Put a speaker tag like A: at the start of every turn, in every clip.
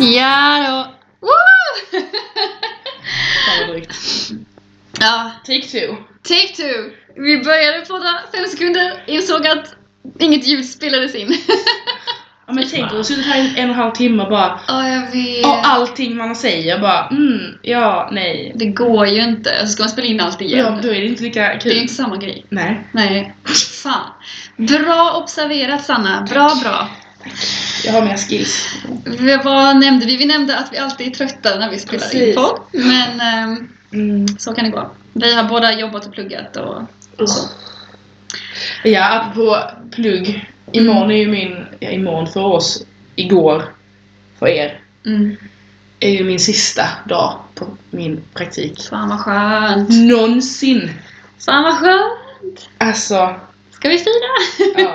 A: Ja då! Woo!
B: Fan vad drygt.
A: ja,
B: Take two.
A: take two! Vi började podda fem sekunder, insåg att inget ljud spelades in.
B: Ja men tänk, du har suttit här i en och en halv timme och bara
A: Ja, jag vet.
B: Och allting man säger bara mm, ja, nej.
A: Det går ju inte. Så ska man spela in allt igen.
B: Ja, då är det inte lika
A: det
B: kul.
A: är inte samma grej.
B: Nej.
A: Nej, fan. Bra observerat Sanna. Bra, bra.
B: Jag har mina skills.
A: Vi, vad nämnde vi? Vi nämnde att vi alltid är trötta när vi spelar in
B: Precis.
A: podd. Men ehm,
B: Mm.
A: så kan det gå. Vi har båda jobbat och pluggat och så.
B: Ja, apropå
A: Mm.
B: plugg. Imorgon är ju min, ja imorgon för oss, igår för er,
A: Mm.
B: är ju min sista dag på min praktik.
A: Fan vad
B: Mm.
A: skönt.
B: Någonsin!
A: Fan vad skönt.
B: Alltså,
A: Ska vi fira?
B: ja.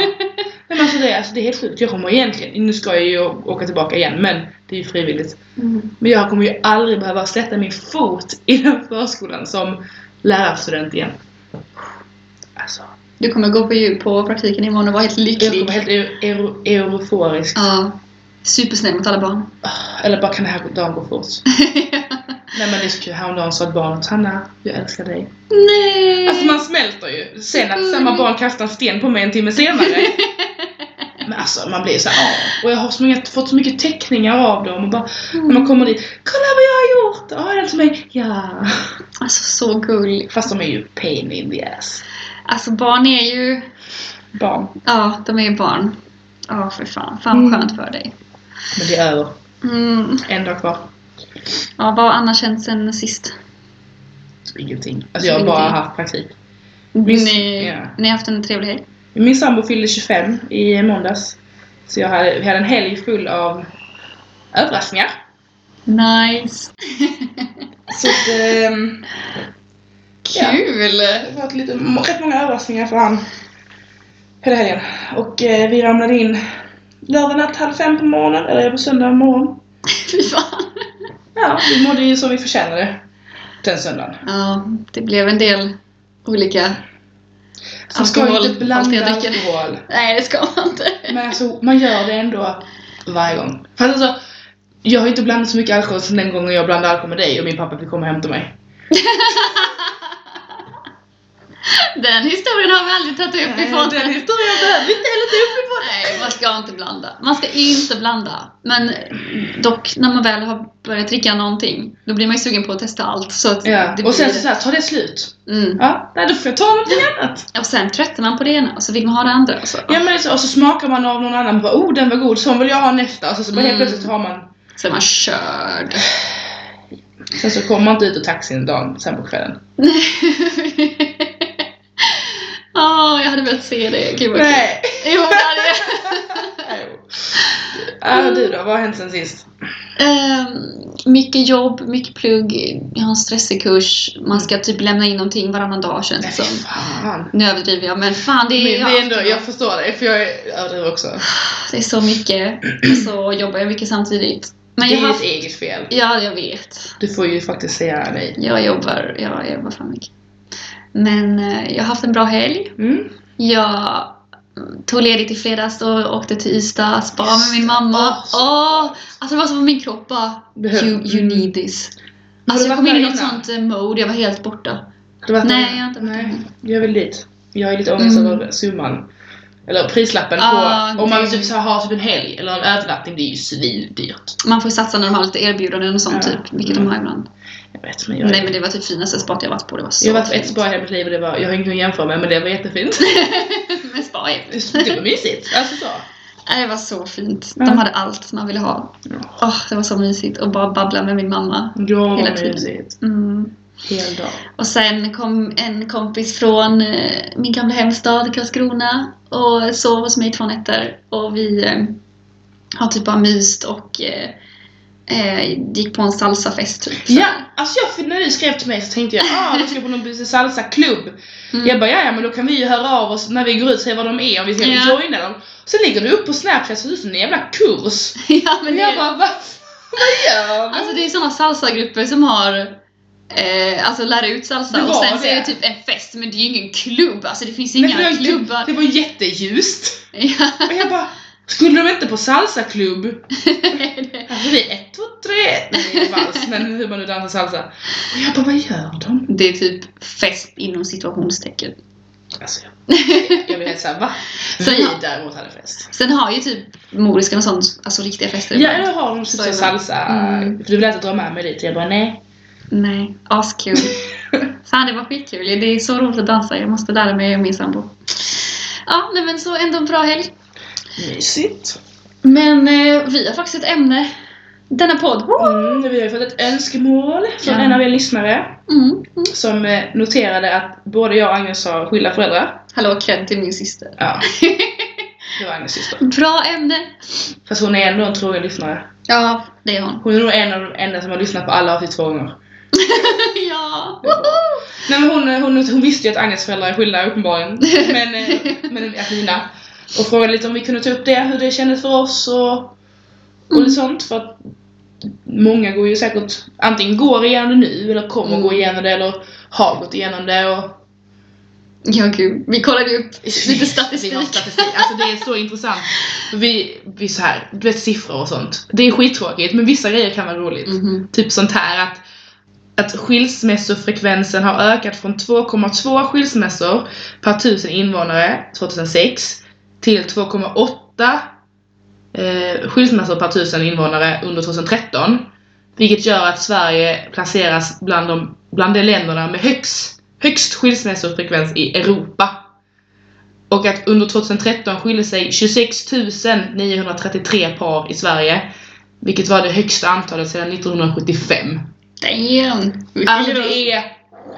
B: Men alltså det, alltså det är helt sjukt. Jag kommer egentligen, nu ska jag ju å- åka tillbaka igen men det är ju frivilligt.
A: Mm.
B: Men jag kommer ju aldrig behöva sätta min fot i den förskolan som lärarstudent igen. Alltså,
A: Du kommer gå på djup på praktiken imorgon och vara helt
B: jag
A: lycklig.
B: kommer helt eu- eu- euforisk.
A: Ja. Supersnäll mot alla barn.
B: Ah, Eller bara kan den här dagen gå fort? Nej men det är så kul, häromdagen sa ett barn att Hanna, jag älskar dig.
A: Nej!
B: Alltså man smälter ju. Sen att samma barn kastar en sten på mig en timme senare. Men alltså man blir så här, "Åh." Och jag har så många, fått så mycket teckningar av dem och bara, när man kommer dit, kolla vad jag har gjort! Ja, den till mig, ja.
A: Alltså så gullig.
B: Fast de är ju pain in the ass.
A: Alltså barn är ju...
B: Barn.
A: Ja, de är ju barn. Ja, för fan. Fan vad
B: Mm.
A: skönt för dig.
B: Men det är över.
A: Mm.
B: En dag kvar.
A: Ja, vad har Anna känt sen sist?
B: Så ingenting. Alltså jag har bara
A: Ingenting.
B: haft praktik. Visst,
A: Ni,
B: ja.
A: ni har haft en trevlig helg?
B: Min sambo fyllde 25 i måndags. Så jag hade, vi hade en helg full av överraskningar.
A: Nice!
B: Så att, ehm, Ja.
A: Kul!
B: det har varit lite, må- rätt många överraskningar för han hela helgen. Och eh, vi ramlade in lördag natt halv fem på morgonen, eller på söndag morgon.
A: Fy fan!
B: Ja, vi mådde ju som vi förtjänade den söndagen.
A: Ja, det blev en del olika...
B: Så ska ju inte
A: alkohol,
B: blanda
A: allt jag dricker.
B: alkohol.
A: Nej, det ska man inte.
B: Men alltså man gör det ändå varje gång. Fast alltså, jag har ju inte blandat så mycket alkohol som den gången jag blandade alkohol med dig och min pappa fick komma och hämta mig.
A: Den historien har vi aldrig tagit upp ifrån.
B: historien behöver vi inte heller ta upp ifrån.
A: Nej, man ska inte blanda. Man ska inte blanda. Men dock, när man väl har börjat dricka någonting, då blir man ju sugen på att testa allt. Så att det
B: Ja, och sen
A: blir-
B: så, så här, tar det slut.
A: mm.
B: Ja, nej, då får jag ta någonting annat.
A: Och sen tröttnar man på det ena och så vill man ha det andra. Och så.
B: Ja, men så, och så smakar man av någon annan och bara oh den var god, sån vill jag ha nästa. Och så, så bara helt
A: Mm.
B: plötsligt har man.
A: så är man körd.
B: Sen så kommer man inte ut ur taxin dagen sen på kvällen.
A: Åh, jag hade velat se det. Gud vad kul.
B: Nej!
A: Jo, det hade jag.
B: Ja, Äh, du då, vad har hänt sen sist?
A: Ehm, mycket jobb, mycket plugg, jag har en stressig kurs. Man ska typ lämna in någonting varannan dag känns det
B: Nej,
A: som.
B: fan.
A: Nu överdriver jag, men fan det
B: Men
A: är,
B: det är ändå, jag förstår dig för jag är- överdriver också.
A: Det är så mycket, och så jobbar jag mycket samtidigt. Men
B: Det
A: jag
B: är
A: har
B: ditt eget fel.
A: Ja, jag vet.
B: Du får ju faktiskt säga nej.
A: Jag jobbar, ja, jag jobbar fan mycket. Men eh, jag har haft en bra helg.
B: Mm.
A: Jag mm, tog ledigt i fredags och åkte till Ystad spa
B: Just
A: med min mamma.
B: Åh, så
A: Åh! alltså det var som om min kropp bara,
B: Behöv-
A: you, you need this.
B: du
A: Alltså jag
B: varit
A: kom in i
B: där
A: något
B: innan?
A: sånt eh, mode, jag var helt borta.
B: Har du varit
A: Nej,
B: där?
A: jag har inte varit
B: nej. Jag vill dit. Jag är lite ångest
A: Mm.
B: över summan. Eller prislappen
A: Ah,
B: på om man
A: gud.
B: typ så här har typ en helg eller en övernattning. Det är ju svindyrt.
A: Man får ju satsa när de har lite erbjudanden och sånt
B: Ja.
A: typ, vilket
B: Mm.
A: de har ibland.
B: Jag vet men jag,
A: Nej men det var typ finaste spat jag varit på, det var så
B: jag har varit på ett
A: fint.
B: spa i hela mitt liv och det var, jag har ingenting att jämföra med men det var jättefint.
A: men spa är
B: det var mysigt. Alltså så.
A: Nej, Äh, det var så fint.
B: Ja.
A: De hade allt man ville ha. Åh, det var så mysigt och bara babbla med min mamma.
B: Ja,
A: Hela
B: vad
A: tiden.
B: mysigt.
A: Mm.
B: Hel dag.
A: Och sen kom en kompis från eh, min gamla hemstad Karlskrona och sov hos mig i två nätter. Och vi eh, har typ bara myst och eh, eh, gick på en salsafest typ.
B: Ja, alltså jag, för när du skrev till mig så tänkte jag ah, då ska jag på någon salsa-klubb.
A: Mm.
B: Jag bara ja, ja men då kan vi ju höra av oss när vi går ut och se vad de är om vi ska
A: Ja.
B: joina dem. Sen ligger du upp på snapchat så du får en jävla kurs.
A: ja, men
B: Men
A: det,
B: jag bara vad vad gör du?
A: alltså, det är sådana salsagrupper som har Eh, alltså lär ut salsa
B: Det
A: och
B: var
A: sen så är
B: det.
A: det typ en fest men det är ju ingen klubb, alltså det finns
B: Nej, för
A: inga
B: det var-
A: klubbar.
B: Det var jätteljust.
A: Ja.
B: Och jag bara skulle de inte på salsa-klubb? Alltså vi är ett, två, men hur man nu dansar salsa. Och jag bara, vad gör de?
A: Det är typ fest inom situationstecken.
B: Alltså jag, jag blev helt såhär, va?
A: Så
B: Vi
A: ja.
B: däremot hade fest.
A: Sen har ju typ Moriskan och sånt, alltså riktiga fester
B: Ja,
A: ibland.
B: eller har de sitt
A: Så är det.
B: salsa?
A: Mm.
B: För du ville alltid dra med mig dit. Jag bara, nej.
A: Nej, askul. Fan, det var skitkul. Det är så roligt att dansa. Jag måste lära mig min sambo. Ja, nej men så ändå en bra helg.
B: Mysigt.
A: Men eh, vi har faktiskt ett ämne. Denna podd.
B: Mm, vi har ju fått ett önskemål från
A: Ja.
B: en av er lyssnare
A: Mm. Mm.
B: som eh, noterade att både jag och Agnes har skilda föräldrar.
A: Hallå, cred till min syster.
B: Ja. Det var Agnes syster.
A: Bra ämne!
B: Fast hon är ändå en trogen lyssnare.
A: Ja, det är hon.
B: Hon är nog en av de enda som har lyssnat på alla avsnitt två gånger.
A: ja!
B: Nej men hon, eh, hon, hon visste ju att Agnes föräldrar är skilda uppenbarligen. Men, eh, men att mina. Och frågade lite om vi kunde ta upp det, hur det kändes för oss och, och
A: Mm.
B: lite sånt. För att många går ju säkert, antingen går igenom det nu eller kommer
A: Mm.
B: gå igenom det eller har gått igenom det. Och,
A: Ja, gud. Vi kollade ju upp lite statistik.
B: Vi har statistik. Alltså det är så intressant. Vi, vi så här, du vet siffror och sånt. Det är skittråkigt men vissa grejer kan vara roligt.
A: Mhm.
B: Typ sånt här att, att skilsmässofrekvensen har ökat från 2,2 skilsmässor per tusen invånare 2006 till 2,8 eh, skilsmässor per tusen invånare under 2013. Vilket gör att Sverige placeras bland de, bland de länderna med högst, högst skilsmässofrekvens i Europa. Och att under 2013 skilde sig 26 933 par i Sverige. Vilket var det högsta antalet sedan 1975.
A: Damn! Vi
B: Alltså
A: skiljer oss.
B: det är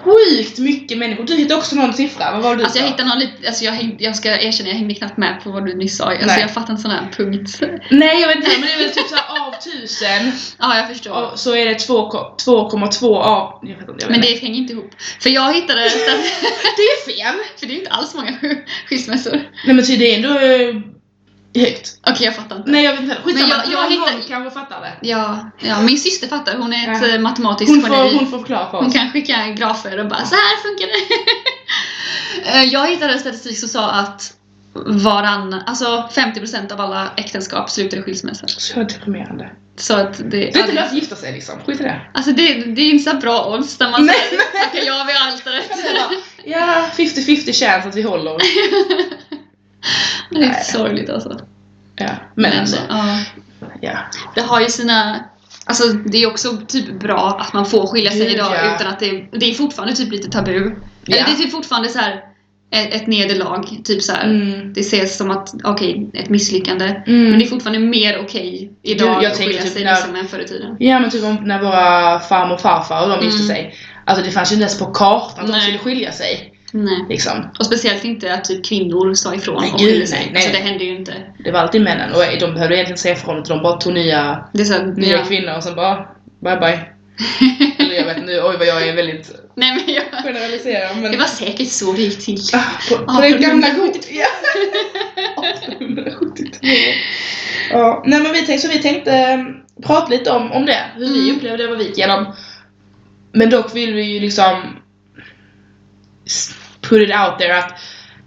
B: sjukt mycket människor. Du hittade också någon siffra. Vad var det du
A: Alltså jag
B: sa?
A: hittade någon lite, alltså jag, häng- jag ska erkänna jag hängde knappt med på vad du nyss sa. Alltså
B: Nej.
A: jag fattar inte sån här punkt.
B: Nej jag vet inte men det är väl typ såhär av tusen
A: Ja, jag förstår.
B: av- så är det 2,2 av... Jag vet inte, jag vet
A: Men
B: inte.
A: det hänger inte ihop. För jag hittade, stat-
B: det är fel!
A: för det är inte alls många skilsmässor. Okej,
B: Nej men ty det är ändå eh, högt.
A: jag fattar inte.
B: Nej jag vet inte heller. Skitsamma,
A: Men jag- jag
B: någon
A: hittar-
B: gång kanske fattar det.
A: Ja, ja, min syster fattar. Hon är ett
B: Ja.
A: eh, matematiskt
B: Hon
A: geni.
B: får, hon får förklara för
A: Hon
B: oss.
A: kan skicka grafer och bara så här funkar det. Eh, jag hittade en statistik som sa att varann, alltså 50% av alla äktenskap slutar i skilsmässa.
B: Så deprimerande.
A: Så att det,
B: Det är
A: ja,
B: inte lönt
A: det,
B: att gifta sig liksom, skit i det.
A: alltså det, det är inte så bra odds när man
B: Nej,
A: säger tackar ja vid allt rätt.
B: Ja, 50-50 chans att vi håller.
A: Det är
B: Nej.
A: sorgligt alltså.
B: Ja, men alltså.
A: ja.
B: Ja.
A: Det har ju sina... Alltså det är också typ bra att man får skilja sig
B: Gud,
A: idag
B: ja.
A: utan att det... Det är fortfarande typ lite tabu. Eller
B: Ja.
A: det är typ fortfarande så här ett, ett nederlag. Typ så här.
B: Mm.
A: Det ses som att, okej, ett misslyckande. Men det är fortfarande mer okej idag
B: Jag- jag
A: att
B: tänker
A: skilja
B: typ
A: sig
B: när-
A: liksom än förr i tiden.
B: Ja men typ om när våra farmor och farfar och de gifte
A: Mm.
B: sig. Alltså det fanns ju inte ens på kartan att de
A: Nej.
B: skulle skilja sig.
A: Nej.
B: Liksom.
A: Och speciellt inte att typ kvinnor sa ifrån
B: Nej,
A: och
B: gud,
A: skilde sig.
B: nej, nej.
A: Så det hände ju inte.
B: Det var alltid männen och eh, de behövde egentligen säga ifrån utan de bara tog nya,
A: Det är så här,
B: nya
A: ja.
B: kvinnor och sen bara bye bye. Eller jag vet inte, oj vad jag är väldigt
A: Nej men jag...
B: generaliserad men...
A: Det var säkert så det gick till.
B: Ah, På, på
A: Ah,
B: den
A: på
B: gamla goda... Ja. 1873. Ja, nej men vi tänkte, så vi tänkte eh, prata lite om, om det, hur vi
A: Mm.
B: upplevde det, vad vi gick igenom. Men dock vill vi ju liksom s- put it out there att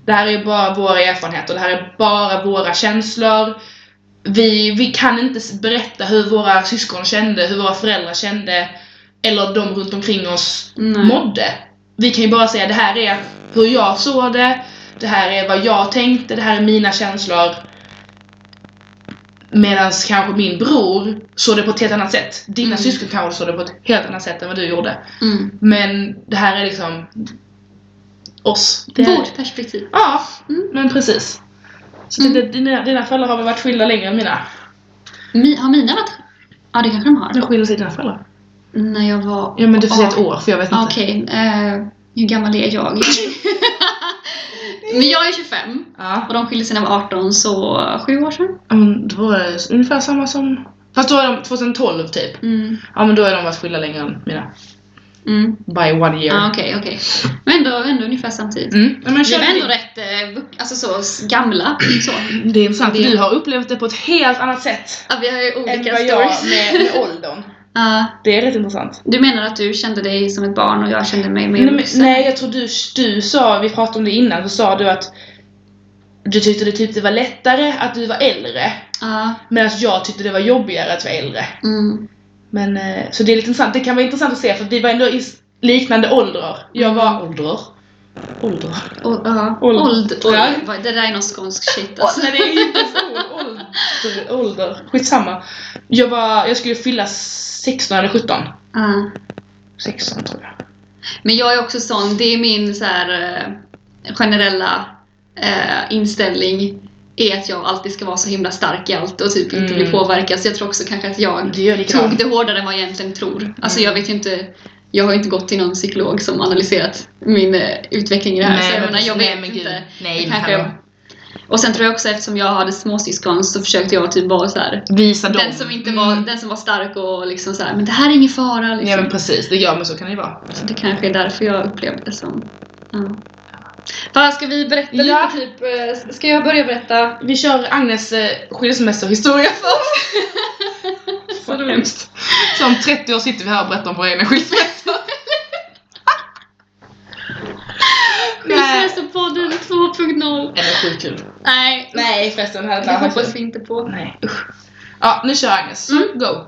B: det här är bara våra erfarenheter, det här är bara våra känslor. Vi, vi kan inte s- berätta hur våra syskon kände, hur våra föräldrar kände eller de runt omkring oss
A: Nej.
B: mådde. Vi kan ju bara säga det här är hur jag såg det, det här är vad jag tänkte, det här är mina känslor. Medan kanske min bror såg det på ett helt annat sätt. Dina
A: Mm.
B: syskon kanske såg det på ett helt annat sätt än vad du gjorde.
A: Mm.
B: Men det här är liksom oss. Det är,
A: Vårt perspektiv.
B: ja,
A: Mm.
B: men precis. Så
A: Mm.
B: det, dina, dina föräldrar har väl varit skilda längre än mina?
A: Mi, har mina varit... Ja det kanske de har.
B: När skiljer sig dina föräldrar?
A: När jag var...
B: Ja men du får säga ett
A: Ja.
B: år för jag vet
A: Ja,
B: inte.
A: Okej, eh, hur gammal är jag? Men jag är 25
B: Ja.
A: och de skilde sig när jag var 18, så sju år sedan.
B: Ja, men då var det ungefär samma som... Fast då är de 2012 typ.
A: Mm.
B: Ja men då är de varit skilda längre än mina.
A: Mm.
B: By one year.
A: Ah, okej, okej. Men ändå, ändå ungefär samtidigt.
B: Mm. Ja, men
A: Vi
B: kör
A: var ändå
B: det,
A: rätt eh, vux- alltså så, s- gamla. Så.
B: det är intressant för
A: Det-
B: du har upplevt det på ett helt annat sätt.
A: Ja, vi har ju
B: Än
A: olika
B: vad jag
A: stories.
B: med, med åldern.
A: Ja,
B: Det är rätt intressant.
A: du menar att du kände dig som ett barn och jag kände mig mer
B: Nej, men,
A: vuxen?
B: nej jag tror du, du sa, vi pratade om det innan, så sa du att du tyckte det, typ, det var lättare att du var äldre.
A: Ja,
B: alltså, Medan jag tyckte det var jobbigare att vara äldre.
A: Ah. mm.
B: Men, eh, så det är lite intressant. Det kan vara intressant att se för vi var ändå i s- liknande åldrar. Jag var Mm. åldrar. Åldrar.
A: Och, ja,
B: Åld-
A: old, old,
B: Ja.
A: vad- Det där är någon skånsk shit alltså.
B: Nej det är inte så ålder. ålder. Skitsamma. Jag, var, jag skulle fylla 16 eller 17.
A: Ja.
B: 16 tror jag.
A: Men jag är också sån, det är min så här, eh, generella eh, inställning är att jag alltid ska vara så himla stark i allt och typ inte bli
B: Mm.
A: påverkad. Så jag tror också kanske att jag
B: Det gör
A: tog
B: likadant.
A: det hårdare än vad jag egentligen tror. Alltså
B: Mm.
A: jag vet ju inte, jag har ju inte gått till någon psykolog som analyserat min eh, utveckling i det här. så jag, menar, jag vet inte.
C: Nej,
A: Det
C: men
A: kanske jag,
C: hallå.
A: och sen tror jag också eftersom jag hade småsyskon så försökte jag typ vara så här.
C: Visa dem.
A: Den som, inte var,
B: Mm.
A: den som var stark och liksom så här, men det här är ingen fara. Liksom.
B: Ja men precis, det gör men så kan det ju vara.
A: Så det kanske är därför jag upplevde det som... Ja. Vad ska vi berätta
B: Ja.
A: lite typ? eh, Ska jag börja berätta?
B: Vi kör Agnes eh, skilsmässohistoria först. så hemskt. Så om 30 år sitter vi här och berättar om våra egna skilsmässor. Nej.
A: Skilsmässopodden 2.0.
B: Eller sjukt kul.
A: Nej,
B: Nej förresten, hade
A: det hoppas vi inte på.
B: Nej usch. Ja, nu kör Agnes.
A: Mm.
B: Go.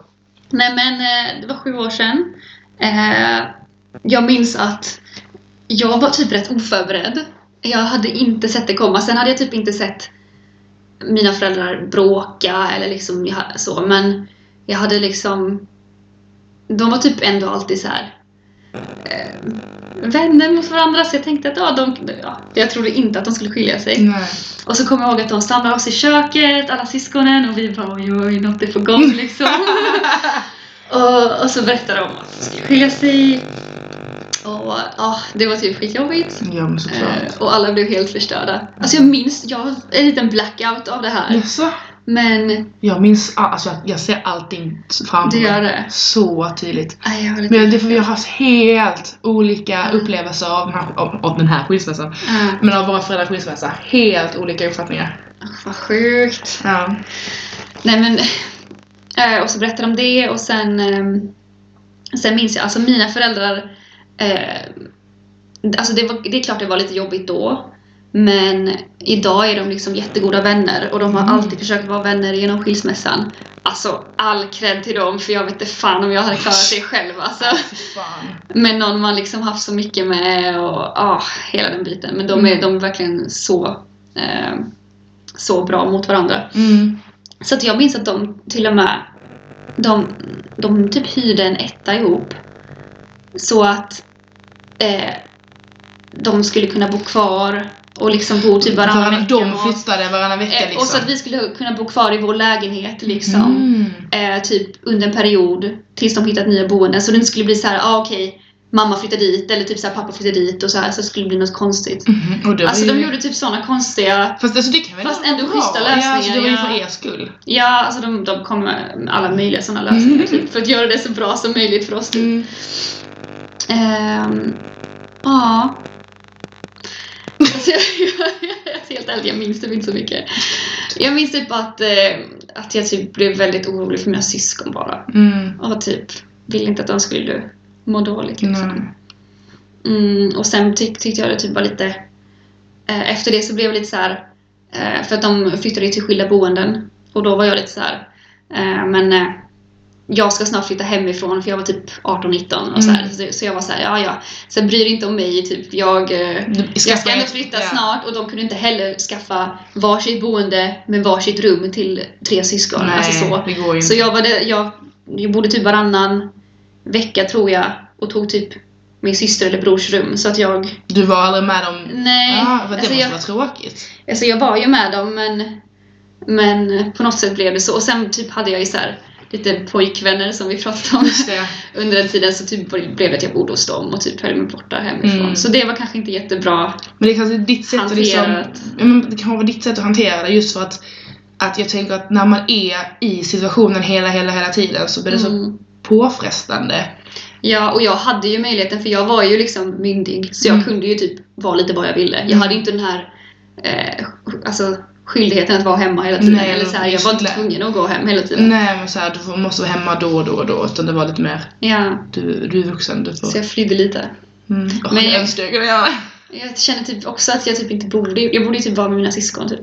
A: Nej men eh, det var sju år sedan. Eh, Jag minns att jag var typ rätt oförberedd. Jag hade inte sett det komma. Sen hade jag typ inte sett mina föräldrar bråka eller liksom jag- så. Men jag hade liksom... De var typ ändå alltid så här eh, vänner mot varandra. Så jag tänkte att ja, de, ja, jag trodde inte att de skulle skilja sig.
B: Nej.
A: Och så kommer jag ihåg att de samlade oss i köket, alla syskonen, och vi bara oj, oj, något är på gång liksom. och, och så berättade de att de skulle skilja sig. Och ja, det var typ skitjobbigt.
B: Ja men
A: Eh, och alla blev helt förstörda. Alltså jag minns, jag har en liten blackout av det här.
B: Jaså?
A: Men
B: Jag minns, all- alltså jag, jag ser allting framför
A: det gör
B: mig.
A: det.
B: Så tydligt.
A: Aj, jag har lite
B: Men det är för vi har haft helt olika
A: Mm.
B: upplevelser av, den här- av, av den här skilsmässan.
A: Ah,
B: Men av våra föräldrars skilsmässa. Helt olika uppfattningar.
A: vad sjukt.
B: Ja.
A: Nej men, eh, och så berättade de det och sen, ehm, sen minns jag, alltså mina föräldrar, eh, alltså det, var, det är klart det var lite jobbigt då, men idag är de liksom jättegoda vänner och de har
B: Mm.
A: alltid försökt vara vänner genom skilsmässan. Alltså all cred till dem för jag vet inte fan om jag hade klarat det själv alltså.
B: Fy fan.
A: Med någon man liksom haft så mycket med och ja, hela den biten. Men de är, de är verkligen så, eh, så bra mot varandra.
B: Mm.
A: Så att jag minns att de till och med de, de typ hyrde en etta ihop. Så att eh, de skulle kunna bo kvar och liksom bo typ varannan
B: Varann,
A: vecka.
B: de flyttade varannan
A: och,
B: vecka
A: eh,
B: liksom.
A: och så att vi skulle kunna bo kvar i vår lägenhet liksom.
B: Mm.
A: Eh, typ under en period tills de hittat nya boenden. Så det inte skulle bli så här, ah, okej, mamma flyttar dit eller typ så här, pappa flyttar dit och så här. Så det skulle bli något konstigt.
B: Mhm, Och det var
A: Alltså de
B: ju-
A: gjorde typ sådana konstiga
B: Fast, alltså, det kan väl
A: Fast
B: vara
A: ändå
B: bra.
A: schyssta
B: Ja, alltså, det var ju
A: lösningar,
B: för
A: ja.
B: er skull.
A: Ja, alltså de, de kom med alla möjliga sådana lösningar typ, för att göra det så bra som möjligt för oss. typ. Ehm, Ja. Alltså, jag, jag, jag, är helt ärlig, jag minns typ inte så mycket. Jag minns typ att, eh, att jag typ blev väldigt orolig för mina syskon bara.
B: Mm.
A: Och typ ville inte att de skulle må dåligt liksom.
B: Mm.
A: Mm, och sen tyck, tyckte jag det typ var lite... Eh, efter det så blev jag lite så här... Eh, för att de flyttade ju till skilda boenden. Och då var jag lite så här... Eh, men eh, jag ska snart flytta hemifrån för jag var typ 18-19 och så, här,
B: Mm.
A: så, så jag var så här, ja ja. Sen bryr inte om mig, typ jag... Eh, jag ska ändå flytta
B: Ja.
A: snart och de kunde inte heller skaffa varsitt boende med varsitt rum till tre syskon.
B: Nej,
A: alltså så.
B: det går ju
A: Så
B: inte.
A: jag, var det, jag, jag bodde typ varannan vecka tror jag och tog typ min syster eller brors rum. Så att jag...
B: Du var aldrig med om...
A: Nej.
B: Ah,
A: alltså,
B: det måste
A: jag,
B: vara tråkigt.
A: alltså jag var ju med dem men, men på något sätt blev det så. Och sen typ hade jag ju så här, lite pojkvänner som vi pratade om.
B: Just det.
A: Under den tiden så typ blev det att jag bodde hos dem och typ höll mig borta hemifrån.
B: Mm.
A: Så det var kanske inte jättebra.
B: Men det är kanske ditt sätt att liksom,
A: Hanterat.
B: ja, men Det kan vara ditt sätt att hantera det just för att att jag tänker att när man är i situationen hela, hela, hela tiden så blir det så
A: Mm.
B: påfrestande.
A: Ja, och jag hade ju möjligheten för jag var ju liksom myndig så jag
B: Mm.
A: kunde ju typ vara lite vad jag ville. Jag
B: Mm.
A: hade ju inte den här eh, alltså, skyldigheten att vara hemma hela tiden.
B: Nej, Mm.
A: eller så här, jag var inte
B: just det.
A: tvungen att gå hem hela tiden.
B: Nej men såhär, du får- måste vara hemma då och då och då. Utan det var lite mer,
A: Ja,
B: du, du är vuxen, du får...
A: så jag flydde lite.
B: Mm. Oh,
A: Men
B: men jag
A: jag-
B: önskar jag kunde göra det.
A: Jag känner typ också att jag typ inte borde... Jag borde ju typ vara med mina syskon typ.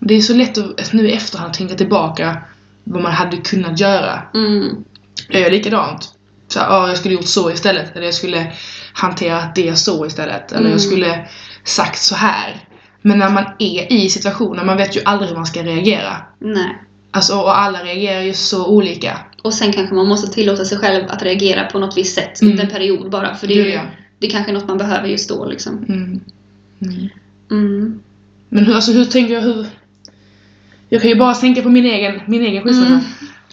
B: Det alltså, är så lätt att nu i efterhand tänka tillbaka vad man hade kunnat göra.
A: Mm.
B: Jag gör likadant. Så här, ja, jag skulle gjort så istället. Eller jag skulle hanterat det så istället. Eller
A: Mm.
B: jag skulle sagt så här. Men när man är i situationen, man vet ju aldrig hur man ska reagera.
A: Nej.
B: Alltså, och alla reagerar ju så olika.
A: Och sen kanske man måste tillåta sig själv att reagera på något visst sätt
B: Mm.
A: under en period bara. För det, är
B: Gör
A: ju,
B: jag.
A: det är kanske är något man behöver just då liksom.
B: Mm. Mm.
A: Mm.
B: Men hur, alltså, hur tänker jag? Hur... Jag kan ju bara tänka på min egen, min egen skilsmässa.
A: Mm.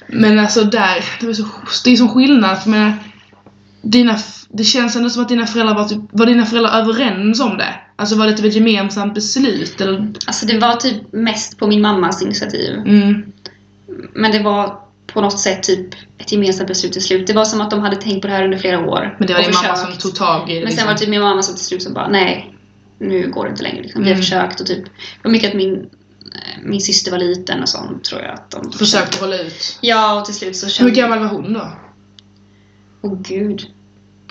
B: Men alltså där, det, var så, det är sån skillnad. För jag menar, dina, det känns ändå som att dina föräldrar var, typ, var dina föräldrar överens om det. Alltså var det typ ett gemensamt beslut? Eller?
A: Alltså det var typ mest på min mammas initiativ.
B: Mm.
A: Men det var på något sätt typ ett gemensamt beslut till slut. Det var som att de hade tänkt på det här under flera år.
B: Men det var
A: och
B: din mamma som
A: försökt.
B: tog liksom. tag i det.
A: Men sen var det typ min mamma som till slut som bara nej, nu går det inte längre. Liksom. Vi har
B: Mm.
A: försökt och typ, det var mycket att min, eh, min syster var liten och sånt tror jag att de
B: Försökte hålla ut.
A: Ja, och till slut så
B: Hur
A: kände
B: gammal var hon då?
A: Åh gud,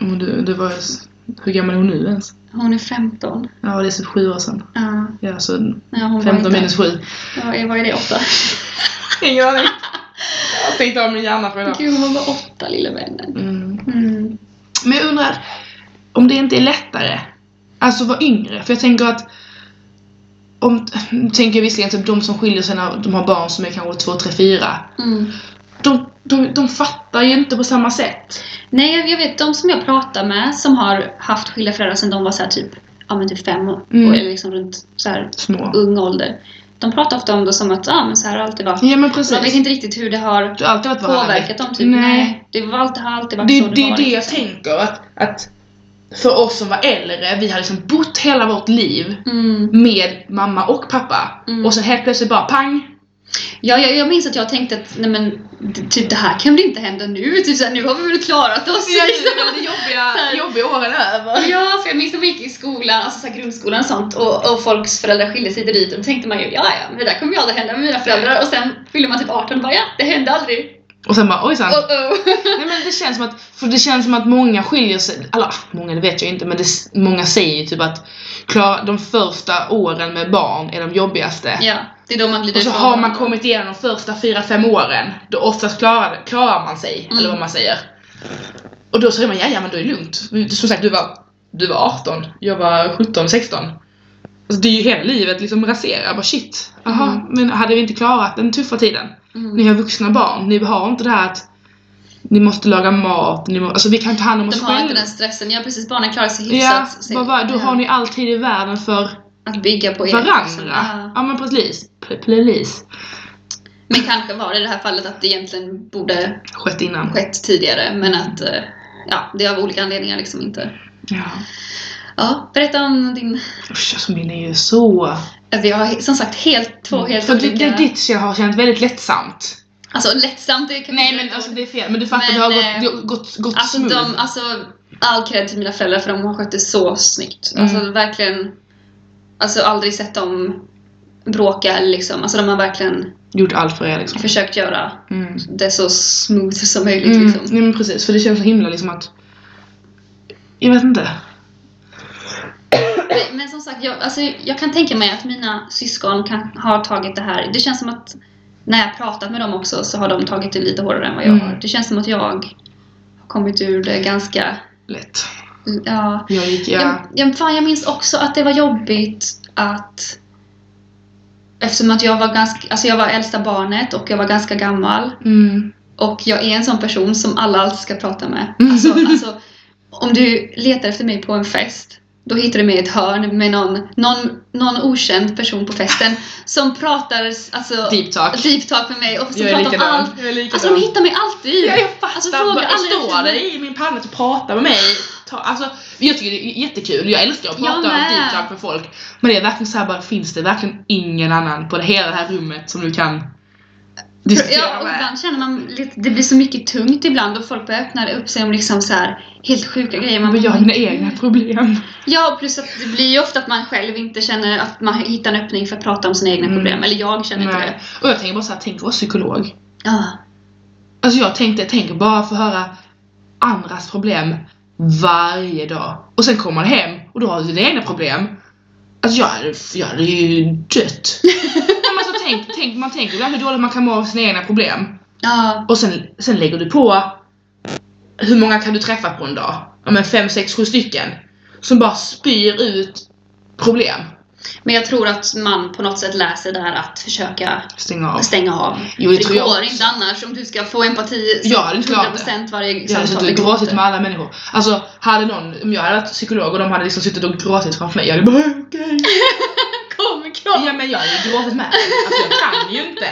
B: Om Du, det var, ju s- hur gammal är hon nu ens?
A: hon är 15.
B: Ja, det är så sju år sedan.
A: Ja,
B: Ja, så
A: nej, hon
B: 15
A: var inte.
B: minus 7.
A: Ja, jag var ju det åtta.
B: Ingen aning. Jag har stängt av min hjärna för idag.
A: Gud, hon var åtta, lilla vännen.
B: Mm.
A: Mm.
B: Men jag undrar om det inte är lättare alltså vara yngre. För jag tänker att om, nu tänker jag visserligen typ de som skiljer sig när de har barn som är kanske 2, 3, 4.
A: Mm.
B: De, de, de fattar ju inte på samma sätt.
A: Nej, jag, jag vet de som jag pratar med som har haft skilda föräldrar sedan de var så här typ, ja, men typ fem år,
B: Mm.
A: eller liksom runt så här,
B: Små.
A: ung ålder. De pratar ofta om det som att ja, men så här har det alltid varit.
B: Ja men
A: Så jag vet
B: precis.
A: inte riktigt hur det har
B: Du har alltid varit
A: påverkat dem. Typ.
B: Nej.
A: Nej. Det var alltid, har alltid varit
B: Det,
A: så
B: det är
A: varit.
B: det jag tänker. Att, att för oss som var äldre, vi har liksom bott hela vårt liv
A: Mm.
B: med mamma och pappa.
A: Mm.
B: Och sen helt plötsligt bara pang!
A: Ja, jag, jag minns att jag tänkte att nej men, d- typ, det här kan väl inte hända nu? Typ, så här, nu har vi väl klarat oss? liksom.
B: det jobbiga, jobbiga åren över.
A: Ja, för jag minns när man gick i skolan, alltså så här grundskolan och sånt och, och folks föräldrar skilde sig dit och då tänkte man ju ja, ja, men det där kommer ju aldrig hända med mina föräldrar och sen fyller man typ 18 och bara ja, det hände aldrig.
B: Och sen bara ojsan.
A: Oh, oh.
B: Nej men det känns som att, för det känns som att många skiljer sig, eller många det vet jag inte men det, många säger ju typ att klara, de första åren med barn är de jobbigaste.
A: Ja, det är då man typ glider
B: Och så
A: ifrån
B: har man
A: varandra.
B: kommit igenom de första 4-5 åren, då oftast klarar, klarar man sig,
A: Mm.
B: eller vad man säger. Och då säger man ja, ja men då är det lugnt. Som sagt, du var, du var 18, jag var 17-16. Alltså det är ju hela livet liksom raserar, Jag bara shit. Jaha,
A: Mm.
B: men hade vi inte klarat den tuffa tiden? Ni
A: Mm.
B: har vuxna barn, ni har inte det här att ni måste laga mat, ni må, alltså vi kan ta hand om oss
A: De har inte
B: själva.
A: den stressen. Ja, precis. Barnen klarar sig
B: Ja,
A: hyfsat. Så-
B: bara, bara, då
A: ja.
B: har ni alltid i världen för
A: Att bygga på er. liksom.
B: varandra.
A: Ja.
B: Ja men precis. P- Please.
A: Men kanske var det i det här fallet att det egentligen borde
B: Skett innan.
A: skett tidigare men att eh, ja, det är av olika anledningar liksom inte.
B: Ja.
A: Ja, berätta om din...
B: Usch alltså min är ju så...
A: Vi har som sagt helt, två helt
B: För Mm. det,
A: olika...
B: det, ditt jag har känt väldigt lättsamt.
A: Alltså lättsamt, det kan
B: Nej men alltså det är fel. Men du fattar,
A: Men,
B: det har
A: eh,
B: gått, det har gått, gått
A: Alltså,
B: smooth.
A: de, alltså all cred till mina föräldrar för de har skött det så snyggt.
B: Mm.
A: Alltså verkligen, alltså aldrig sett dem bråka eller liksom. Alltså de har verkligen
B: Gjort allt för er liksom.
A: försökt göra
B: Mm.
A: det så smooth som möjligt
B: Mm.
A: liksom.
B: Nej men precis, för det känns så himla liksom att... Jag vet inte.
A: Nej, Men som sagt, jag, alltså, jag kan tänka mig att mina syskon kan, har tagit det här. Det känns som att när jag pratat med dem också så har de tagit det lite hårdare än vad jag
B: Mm.
A: har. Det känns som att jag har kommit ur det ganska...
B: Lätt.
A: Ja,
B: Jag gick,
A: Jag,
B: ja.
A: jag, fan, jag minns också att det var jobbigt att... Eftersom att jag var ganska... Alltså jag var äldsta barnet och jag var ganska gammal.
B: Mm.
A: Och jag är en sån person som alla alltid ska prata med.
B: Mm.
A: Alltså, alltså, om du letar efter mig på en fest, då hittar du mig i ett hörn med någon, någon, någon okänd person på festen som pratar alltså,
B: Deep talk.
A: deep talk med mig och som
B: Jag är
A: pratar om
B: likadan.
A: allt.
B: Jag är likadan.
A: Alltså de hittar mig alltid!
B: Ja, jag fattar.
A: Alltså, fråga
B: bara,
A: aldrig
B: står
A: efter-
B: där i min panna och pratar med mig. Ta, alltså, jag tycker det är jättekul. Jag älskar att prata
A: Jag
B: om
A: med.
B: deep talk med folk. Men det är verkligen så här bara, finns det verkligen ingen annan på det hela det här rummet som du kan diskutera
A: Ja, och
B: med?
A: ibland känner man lite, det blir så mycket tungt ibland och folk börjar öppna upp sig om liksom så här helt sjuka grejer. Man
B: Men jag
A: bara,
B: har mina egna problem.
A: Ja, plus att det blir ju ofta att man själv inte känner att man hittar en öppning för att prata om sina egna
B: Mm.
A: problem. Eller jag känner inte
B: Nej.
A: det.
B: Och jag tänker bara såhär, tänk att vara psykolog.
A: Ja.
B: Alltså jag tänkte, tänk bara få höra andras problem varje dag. Och sen kommer man hem och då har du dina egna problem. Alltså jag hade, jag hade ju dött. Men alltså tänk, tänk, man tänker ibland hur dåligt man kan må av sina egna problem.
A: Ja.
B: Och sen, sen lägger du på hur många kan du träffa på en dag? Ja men fem, sex, sju stycken. Som bara spyr ut problem.
A: Men jag tror att man på något sätt lär sig där att försöka
B: Stäng av.
A: stänga av.
B: Jo,
A: För
B: det tror
A: det
B: jag
A: går
B: också.
A: inte annars om du ska få empati
B: Jag hade inte klarat det.
A: 100% varje
B: Jag hade
A: samtal.
B: suttit
A: det
B: och
A: går
B: gråtit
A: inte.
B: med alla människor. Alltså, hade någon, om jag hade varit psykolog och de hade liksom suttit och gråtit framför mig, jag hade bara okej.
A: Kom, kom.
B: Ja men jag hade ju gråtit med. Alltså jag kan ju inte.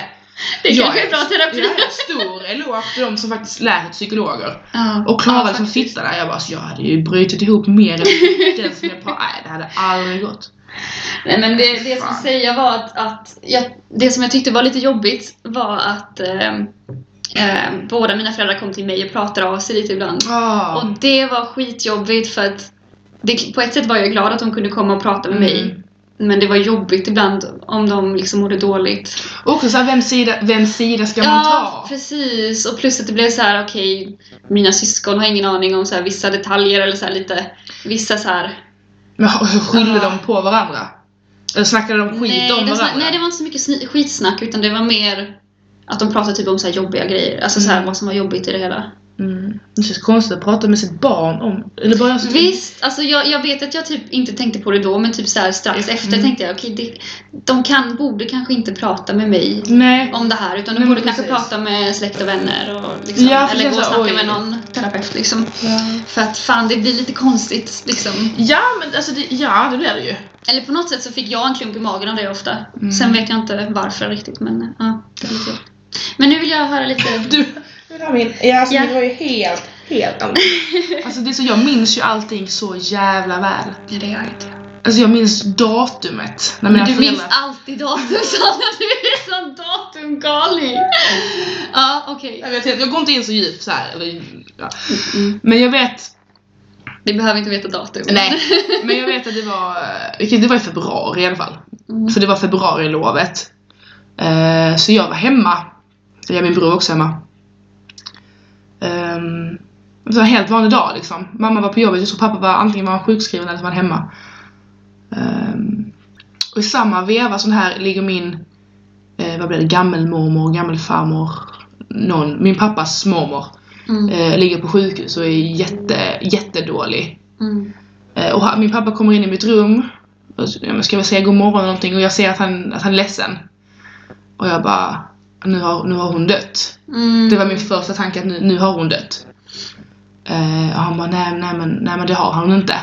A: Det
B: jag
A: kanske är bra terapi.
B: Jag är en stor eloge till de som faktiskt lär sig psykologer.
A: Ja.
B: Och Klara liksom
A: faktiskt.
B: sitter där, jag bara så jag hade ju brutit ihop mer än den som jag pratar Nej det hade aldrig gått.
A: Nej, men det, det jag skulle
B: Fan.
A: säga var att, att jag, det som jag tyckte var lite jobbigt var att ehm, ehm, båda mina föräldrar kom till mig och pratade av sig lite ibland.
B: Oh.
A: Och det var skitjobbigt för att det, på ett sätt var jag glad att de kunde komma och prata med mig.
B: Mm.
A: Men det var jobbigt ibland om de liksom mådde dåligt.
B: Och också såhär, vems sida, vems sida ska
A: Ja,
B: man ta?
A: precis. Och plus att det blev så här: okej, mina syskon har ingen aning om så här, vissa detaljer eller så här, lite, vissa så här
B: Men hur skyller
A: Ja.
B: de på varandra? Eller snackade de skit
A: Ah. nej,
B: om
A: det
B: varandra?
A: sna- nej, det var inte så mycket sni- skitsnack utan det var mer att de pratade typ om så här jobbiga grejer. Alltså så här,
B: Mm.
A: vad som var jobbigt i det hela.
B: Mm. Det känns konstigt att prata med sitt barn om... Eller bara jag som-
A: Visst, alltså jag, jag vet att jag typ inte tänkte på det då men typ så här strax
B: Mm.
A: efter tänkte jag okej, det- de kan, borde kanske inte prata med mig
B: Nej.
A: om det här utan de
B: Nej, men
A: borde kanske
B: Mm, precis.
A: prata med släkt och vänner och liksom,
B: Ja, för
A: eller
B: det är
A: gå och
B: så här,
A: snacka med
B: oj.
A: någon terapeut liksom.
B: Ja.
A: För att fan, det blir lite konstigt liksom.
B: Ja, men alltså det, ja, det blir det ju.
A: Eller på något sätt så fick jag en klump i magen av det ofta.
B: Mm.
A: Sen vet jag inte varför riktigt men ja, det är lite jobbigt. Men nu vill jag höra lite
B: Du, min, ja, alltså,
A: Ja.
B: det var ju helt, helt annorlunda. Alltså det är så, jag minns ju allting så jävla väl.
A: Nej, det gör jag inte.
B: Alltså jag minns datumet när mina
A: Men du minns
B: föräldrar...
A: alltid datum, Sanna. Du är en sån datumgalning. Ja, okej.
B: Jag, vet, inte, jag går inte in så djupt så här, eller, ja. Men jag vet...
A: Vi behöver inte veta datum.
B: Nej. Men jag vet att det var... eh, vilket- Det var i februari i alla fall.
A: Mm.
B: För det var februarilovet. Eh, så jag var hemma. Eller min bror var också hemma. Ehm, det var en helt vanlig dag liksom. Mamma var på jobbet, jag tror pappa var antingen var han sjukskriven eller så var han hemma. Ehm, och i samma veva som det här ligger min, eh, vad blir det, gammelmormor, gammelfarmor, någon, min pappas mormor,
A: Mm.
B: eh, ligger på sjukhus och är jätte, jättedålig.
A: Mm.
B: Eh, Och han- min pappa kommer in i mitt rum. Och så- ja, men ska vi säga god morgon eller någonting och jag ser att han, att han är ledsen. Och jag bara, nu har, nu har hon dött.
A: Mm.
B: Det var min första tanke att nu, nu har hon dött. Eh, och han bara, nej, nej, men, nej men det har hon inte.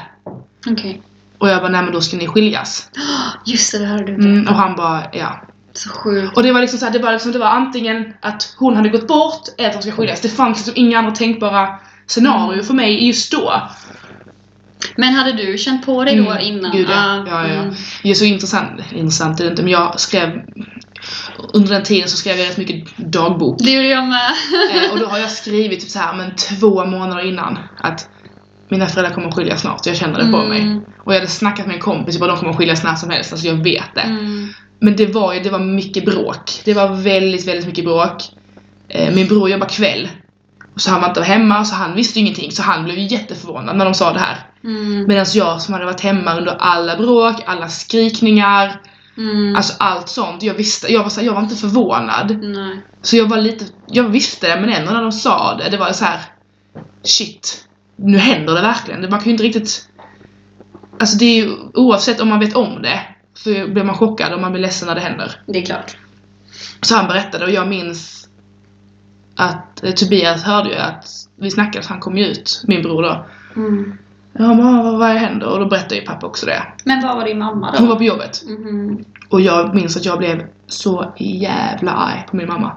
A: Okej.
B: Och jag bara, nej men då ska ni skiljas.
A: Just det, det hörde du inte.
B: Mm, och han bara, ja.
A: Så sjukt.
B: Och det var liksom så här, det var liksom, det var antingen att hon hade gått bort eller att de ska skiljas. Det fanns liksom inga andra tänkbara scenarier för mig just då.
A: Men hade du känt på dig då
B: Mm,
A: innan?
B: Gud, ja.
A: Ah,
B: Ja, ja, ja.
A: mm.
B: Det är så intressant, intressant är det inte, men jag skrev under den tiden så skrev jag rätt mycket dagbok.
A: Det gjorde jag med.
B: Eh, och då har jag skrivit typ så här, men två månader innan att mina föräldrar kommer att skiljas snart, jag känner det på mig.
A: Mm.
B: Och jag hade snackat med en kompis, jag bara de kommer att skiljas när som helst, alltså jag vet det.
A: Mm.
B: Men det var ju, det var mycket bråk. Det var väldigt, väldigt mycket bråk. Eh, min bror jobbar kväll. Och så han var inte hemma, så han visste ju ingenting, så han blev ju jätteförvånad när de sa det här.
A: Mm.
B: Medan jag som hade varit hemma under alla bråk, alla skrikningar,
A: Mm.
B: alltså allt sånt. Jag visste, jag var, så här, jag var inte förvånad.
A: Nej.
B: Så jag var lite, jag visste det men ändå när de sa det, det var så här. Shit, nu händer det verkligen. Man kan ju inte riktigt... Alltså det är ju oavsett om man vet om det så blir man chockad och man blir ledsen när det händer.
A: Det är klart.
B: Så han berättade och jag minns att eh, Tobias hörde ju att vi snackade så han kom ju ut, min bror då.
A: Mm.
B: Ja mamma vad, vad händer? Och då berättade ju pappa också det.
A: Men vad var din mamma då?
B: Hon var på jobbet.
A: Mhm.
B: Och jag minns att jag blev så jävla arg på min mamma.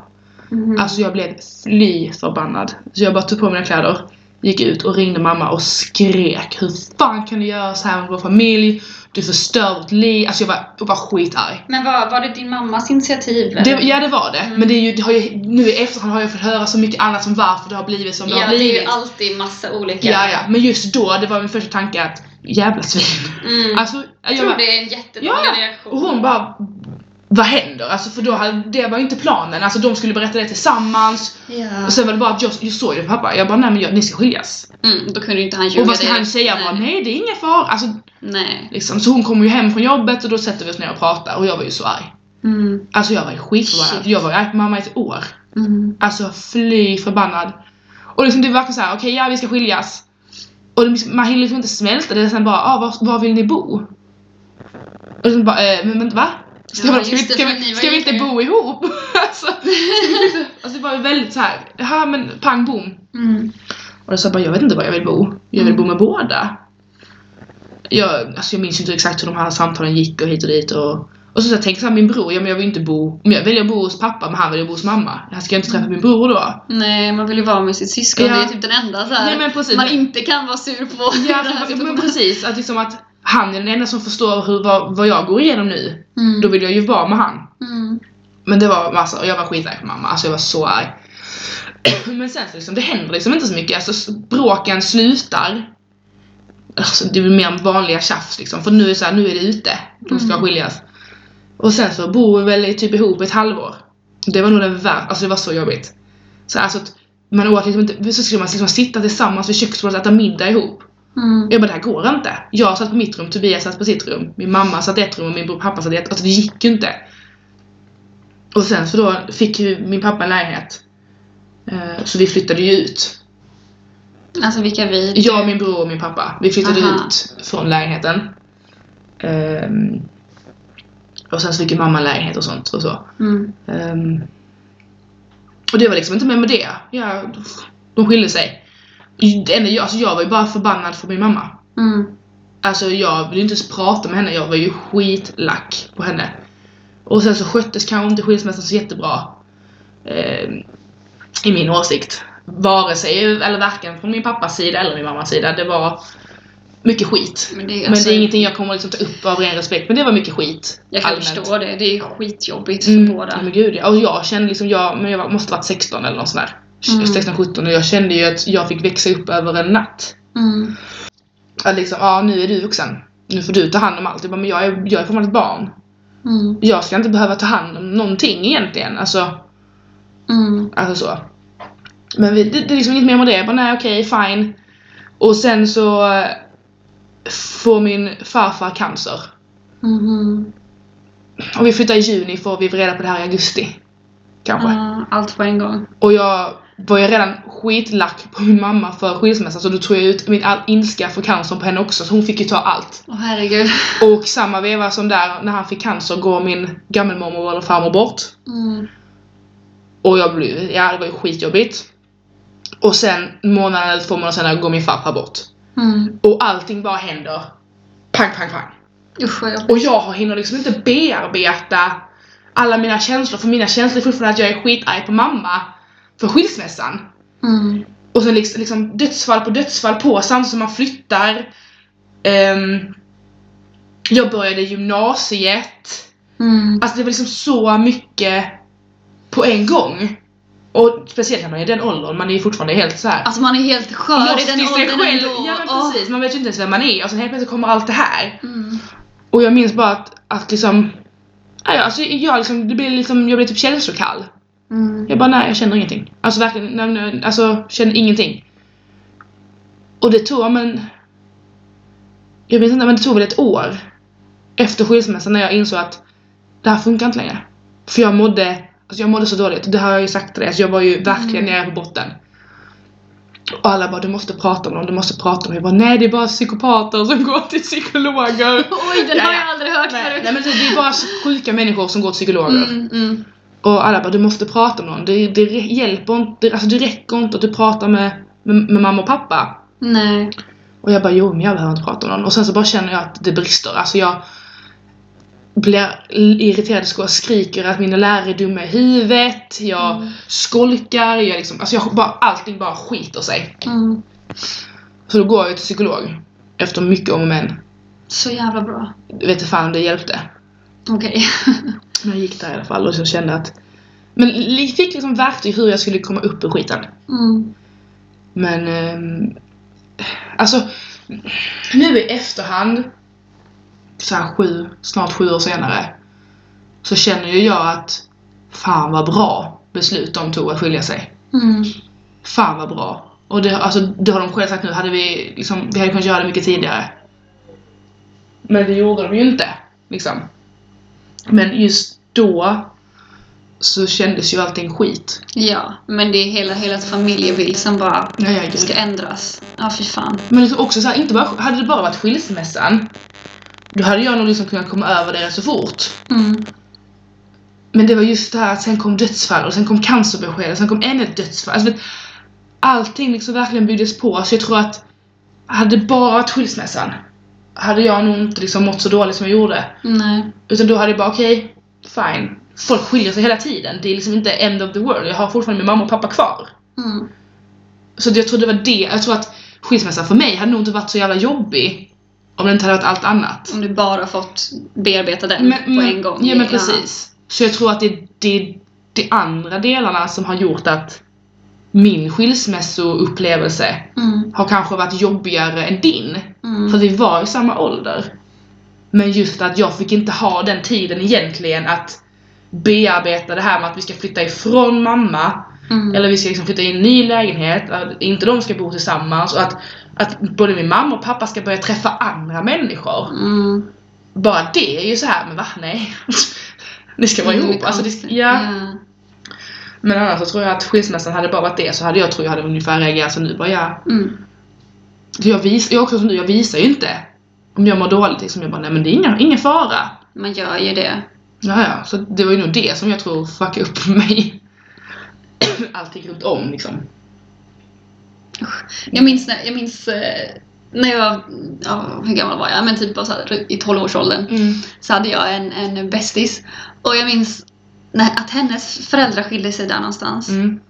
A: Mhm.
B: Alltså jag blev fly förbannad. Så jag bara tog på mina kläder, gick ut och ringde mamma och skrek. Hur fan kan du göra så här med vår familj? Du förstör vårt liv. Alltså jag var, jag var skitarg.
A: Men var, var det din mammas initiativ?
B: Det,
A: eller?
B: ja det var det,
A: Mm.
B: men det är ju, det har ju, nu i efterhand har jag fått höra så mycket annat om varför det har blivit som det
A: ja,
B: har
A: det är
B: blivit.
A: ju alltid massa olika.
B: ja, ja, men just då, det var min första tanke att jävla svin.
A: Mm.
B: Alltså, jag
A: jag tror
B: bara,
A: det är en jättedålig
B: Ja,
A: reaktion.
B: Och hon bara Vad händer? Alltså för då hade, det var ju inte planen, alltså de skulle berätta det tillsammans
A: ja.
B: Och sen var det bara att jag, jag såg det på pappa, jag bara nej men jag, ni ska skiljas
A: mm, då kunde ju inte han ljuga
B: Och vad ska han
A: direkt.
B: säga? Jag
A: Nej.
B: bara, nej det är ingen fara alltså,
A: Nej.
B: liksom. Så hon kommer ju hem från jobbet och då sätter vi oss ner och pratar och jag var ju så arg
A: Mm.
B: Alltså jag var ju skitförbannad,
A: Shit.
B: jag var ju arg på mamma i ett år
A: Mm.
B: Alltså fly förbannad Och liksom det var verkligen såhär, okej ja vi ska skiljas. Och det, man hinner liksom inte smälta det, sen bara, ah, var, var vill ni bo? Och liksom bara, eh, men, men va? Ska,
A: Ja,
B: vi, ska, vi,
A: just det,
B: ska,
A: för ni
B: vi,
A: var
B: ska vi inte
A: ihop ju.
B: bo ihop? alltså, ska vi inte, alltså det var ju väldigt såhär, ja men pang bom.
A: Mm.
B: Och då sa jag bara, jag vet inte var jag vill bo. Jag vill
A: Mm.
B: bo med båda. Jag, alltså jag minns inte exakt hur de här samtalen gick och hit och dit. Och, och så, så jag tänkte jag min bror, ja men jag vill inte bo, men jag väljer att bo hos pappa men han väljer att bo hos mamma. Jag ska ju inte träffa min bror då.
A: Nej, man vill ju vara med sitt syskon.
B: Ja.
A: Det är typ den enda så här,
B: Nej men precis.
A: man
B: Men,
A: inte kan vara sur på. i den
B: ja,
A: här
B: men
A: situationen.
B: precis, att liksom att han är den enda som förstår hur, vad, vad jag går igenom nu.
A: Mm.
B: Då vill jag ju vara med han.
A: Mm.
B: Men det var massa, och jag var skitarg på mamma, alltså jag var så arg. Men sen så liksom, det händer liksom inte så mycket, alltså s- bråken slutar. Alltså det blir mer vanliga tjafs liksom, för nu är det så här, nu är det ute. De ska
A: Mm.
B: skiljas. Och sen så bor vi väl i typ ihop ett halvår. Det var nog den värsta, alltså det var så jobbigt. Så alltså att man åt liksom inte, så skulle man liksom sitta tillsammans vid köksbordet och äta middag ihop.
A: Mm.
B: Jag bara, det här går inte. Jag satt på mitt rum, Tobias satt på sitt rum, min mamma satt i ett rum och min bror och pappa satt i ett. Alltså det gick ju inte. Och sen så då fick ju min pappa en lägenhet. Eh, Så vi flyttade ju ut.
A: Alltså vilka vi...
B: Jag, min bror och min pappa. Vi flyttade
A: Aha.
B: ut från lägenheten. Ehm, Och sen så fick ju mamma en lägenhet och sånt och så.
A: Mm.
B: Ehm, och det var liksom inte mer med det. Jag, de skilde sig. Det enda jag, alltså jag var ju bara förbannad för min mamma.
A: Mm.
B: Alltså jag ville inte ens prata med henne, jag var ju skitlack på henne. Och sen så sköttes kanske inte skilsmässan så jättebra. Eh, I min åsikt. Vare sig, eller varken från min pappas sida eller min mammas sida. Det var mycket skit.
A: Men det är,
B: Men
A: alltså,
B: det är ingenting jag kommer liksom ta upp av ren respekt. Men det var mycket skit.
A: Jag kan
B: allmänt.
A: förstå det. Det är skitjobbigt för
B: Mm, ja,
A: båda.
B: men gud ja. Och jag kände liksom, jag, men jag var- måste varit 16 eller något sånt där.
A: Mm.
B: 16-17 och jag kände ju att jag fick växa upp över en natt.
A: Mm.
B: Att liksom, ja nu är du vuxen. Nu får du ta hand om allt. Jag bara, men jag är, jag är fortfarande ett barn.
A: Mm.
B: Jag ska inte behöva ta hand om någonting egentligen. Alltså,
A: Mm.
B: alltså så. Men vi, det, det är liksom inget mer med det. Jag bara, nej okej, fine. Och sen så eh, får min farfar cancer.
A: Mhm.
B: Och vi flyttar i juni, får vi reda på det här i augusti. Kanske.
A: Ja, allt på en gång.
B: Och jag var ju redan skitlack på min mamma för skilsmässan så då tog jag ut min all ilska för cancern på henne också så hon fick ju ta allt.
A: Åh herregud.
B: Och samma veva som där, när han fick cancer, går min gammelmormor eller farmor bort.
A: Mm.
B: Och jag blev, ja det var ju skitjobbigt. Och sen månaden eller två månader senare går min farfar bort.
A: Mm.
B: Och allting bara händer. Pang, pang, pang.
A: Usch vad jobbigt.
B: Och jag har- hinner liksom inte bearbeta alla mina känslor, för mina känslor är fortfarande att jag är skitarg på mamma för skilsmässan.
A: Mm.
B: Och sen liksom, liksom dödsfall på dödsfall på samtidigt som man flyttar. Ehm, jag började gymnasiet.
A: Mm.
B: Alltså det var liksom så mycket på en gång. Och speciellt när man är i den åldern, man är ju fortfarande helt så här.
A: Alltså man är helt skör i den
B: sig
A: åldern
B: själv.
A: ändå.
B: Ja men
A: Åh.
B: precis, man vet ju inte ens vem man är och sen helt plötsligt kommer allt det här.
A: Mm.
B: Och jag minns bara att, att liksom ja, ja, Alltså jag, liksom, det blir liksom, jag blir typ känslokall.
A: Mm.
B: Jag bara nej, jag känner ingenting. Alltså verkligen, nej, nej, alltså känner ingenting. Och det tog, men... Jag vet inte, men det tog väl ett år efter skilsmässan när jag insåg att det här funkar inte längre. För jag mådde, alltså jag mådde så dåligt. Det har jag ju sagt till dig, alltså jag var ju
A: Mm.
B: verkligen nere på botten. Och alla bara du måste prata om dem, du måste prata om dem. Jag bara nej det är bara psykopater som går till psykologer.
A: Oj, den
B: Ja,
A: har
B: ja.
A: jag aldrig hört
B: nej,
A: förut.
B: nej men det är bara sjuka människor som går till psykologer.
A: Mm, mm,
B: Och alla bara, du måste prata med någon. Det, det re- hjälper inte, alltså det räcker inte att du pratar med, med, med mamma och pappa.
A: nej.
B: Och jag bara, jo men jag behöver inte prata med någon. Och sen så bara känner jag att det brister. Alltså jag blir irriterad och skriker att mina lärare är dumma i huvudet. Jag
A: Mm.
B: skolkar, jag liksom, alltså jag bara, allting bara skiter sig.
A: Mm.
B: Så då går jag till psykolog. Efter mycket om och men.
A: Så jävla bra.
B: Vet inte fan om det hjälpte.
A: Okej.
B: Men jag gick där i alla fall och så kände att... Men li- fick liksom verktyg hur jag skulle komma upp ur skiten.
A: Mm.
B: Men ehm, alltså nu i efterhand så här sju, snart sju år senare så känner ju jag att fan vad bra beslut de tog att skilja sig.
A: Mm.
B: Fan vad bra. Och det, alltså, det har de själva sagt nu, hade vi, liksom, vi hade kunnat göra det mycket tidigare. Men det gjorde de ju inte. Liksom. Men just då så kändes ju allting skit.
A: Ja, men det är hela, hela familjebild som bara
B: Ja, ja, gud.
A: ska ändras. Ja, fy fan.
B: Men liksom också så här, inte bara, hade det bara varit skilsmässan, då hade jag nog liksom kunnat komma över det rätt så fort.
A: Mm.
B: Men det var just det här att sen kom dödsfall och sen kom cancerbesked och sen kom ännu ett dödsfall. Alltså, vet, allting liksom verkligen byggdes på. Så jag tror att hade det bara varit skilsmässan hade jag nog inte liksom mått så dåligt som jag gjorde.
A: Nej.
B: Utan då hade jag bara okej, fine. Folk skiljer sig hela tiden. Det är liksom inte end of the world. Jag har fortfarande min mamma och pappa kvar.
A: Mm.
B: Så jag tror det var det. Jag tror att skilsmässan för mig hade nog inte varit så jävla jobbig om det inte hade varit allt annat.
A: Om du bara fått bearbeta den på en gång.
B: Ja Mm, men precis. Så jag tror att det är det, de andra delarna som har gjort att min skilsmässoupplevelse
A: Mm.
B: har kanske varit jobbigare än din.
A: Mm.
B: För vi var i samma ålder. Men just att jag fick inte ha den tiden egentligen att bearbeta det här med att vi ska flytta ifrån mamma
A: Mm.
B: eller vi ska liksom flytta in i en ny lägenhet, att inte de ska bo tillsammans och att, att både min mamma och pappa ska börja träffa andra människor.
A: Mm.
B: Bara det är ju så här, men va? Nej. Ni ska vara ihop.
A: Mm,
B: Alltså, det,
A: konstigt.
B: ja. Men annars så tror jag att skilsmässan hade bara varit det så hade jag tror jag hade ungefär reagerat som nu. Bara, ja.
A: Mm.
B: För Jag, vis, jag är också som du, jag visar ju inte om jag mår dåligt. Liksom. Jag bara, nej men det är ingen, ingen fara.
A: Man gör ju det.
B: Ja, ja. Så det var ju nog det som jag tror fuckade upp mig. Allting runt om liksom.
A: Jag minns när jag, minns, eh, när jag ja, hur gammal var jag? Men typ bara så här, i 12-årsåldern.
B: Mm.
A: så hade jag en, en bästis. Och jag minns när, att hennes föräldrar skilde sig där någonstans.
B: Mm.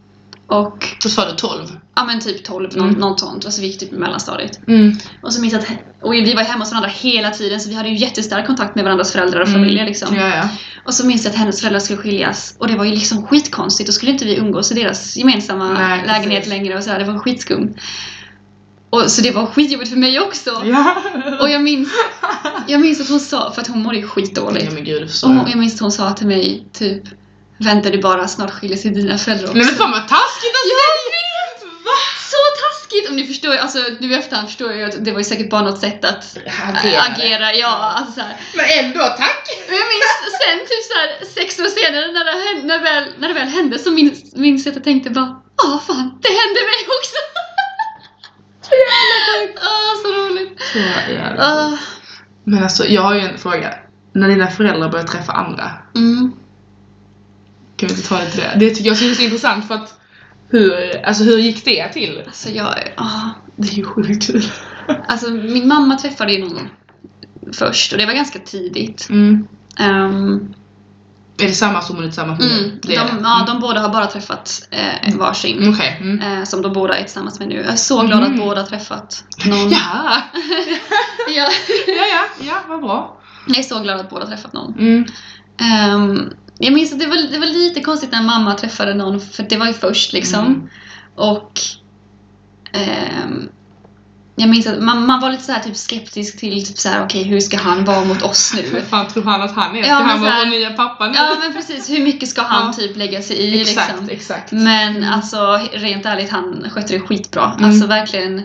A: Och
B: Då sa du 12.
A: ja men typ 12,
B: Mm.
A: någon, något sånt. Alltså vi gick typ i mellanstadiet.
B: Mm.
A: Och så minns jag att och vi var hemma hos varandra hela tiden så vi hade ju jättestark kontakt med varandras föräldrar och
B: Mm.
A: familjer liksom.
B: Ja, ja.
A: Och så minns jag att hennes föräldrar skulle skiljas och det var ju liksom skitkonstigt. Då skulle inte vi umgås i deras gemensamma
B: Nej,
A: lägenhet
B: precis.
A: längre och sådär. Det var skitskumt. Och, så det var skitjobbigt för mig också.
B: ja.
A: Och jag minns, jag minns att hon sa, för att hon mådde ju skitdåligt.
B: ja men gud, det förstår
A: Och
B: jag.
A: jag minns att hon sa till mig typ Vänta du bara, snart skiljer sig dina föräldrar också.
B: Nej men fan vad taskigt att
A: Jag
B: säga! Va?
A: Så taskigt! Om ni förstår, alltså nu i efterhand förstår jag ju att det var ju säkert bara något sätt att
B: Agera.
A: äh, agera. Ja, alltså så här.
B: Men ändå tack!
A: Men jag minns sen typ så här, sex år senare när det, hände, när väl, när det väl hände så minns, minns jag att jag tänkte bara Ja fan, det hände mig också! Ah, så roligt!
B: Så jävla
A: Ah,
B: Men alltså jag har ju en fråga. När dina föräldrar börjar träffa andra,
A: mm,
B: kan vi inte ta lite det? Det tycker jag är så intressant för att hur, alltså hur gick det till?
A: alltså jag, ah.
B: Det är ju sjukt kul.
A: Alltså min mamma träffade ju någon först och det var ganska tidigt.
B: Mm.
A: Ehm,
B: Är det samma som hon är tillsammans med nu?
A: Mm, de,
B: Det är det.
A: ja, de båda har bara träffat eh, varsin.
B: Mm, Okej. Mm.
A: Eh, som de båda är tillsammans med nu. Jag är så glad
B: Mm.
A: att båda har träffat någon.
B: Ja.
A: ja,
B: ja, ja, ja, vad bra.
A: jag är så glad att båda har träffat någon.
B: Mm.
A: Ehm, jag minns att det var, det var lite konstigt när mamma träffade någon, för det var ju först liksom.
B: Mm.
A: Och ehm, jag minns att man, man var lite så här, typ skeptisk till typ så här, okej hur ska han vara mot oss
B: Hur
A: nu?
B: fan tror han att han är? Ska
A: Ja, men
B: han vara
A: så här-
B: vår nya pappa nu?
A: ja men precis, hur mycket ska han
B: Ja.
A: typ lägga sig i
B: exakt,
A: liksom?
B: exakt.
A: Men alltså rent ärligt, han skötte det skitbra.
B: Mm.
A: Alltså verkligen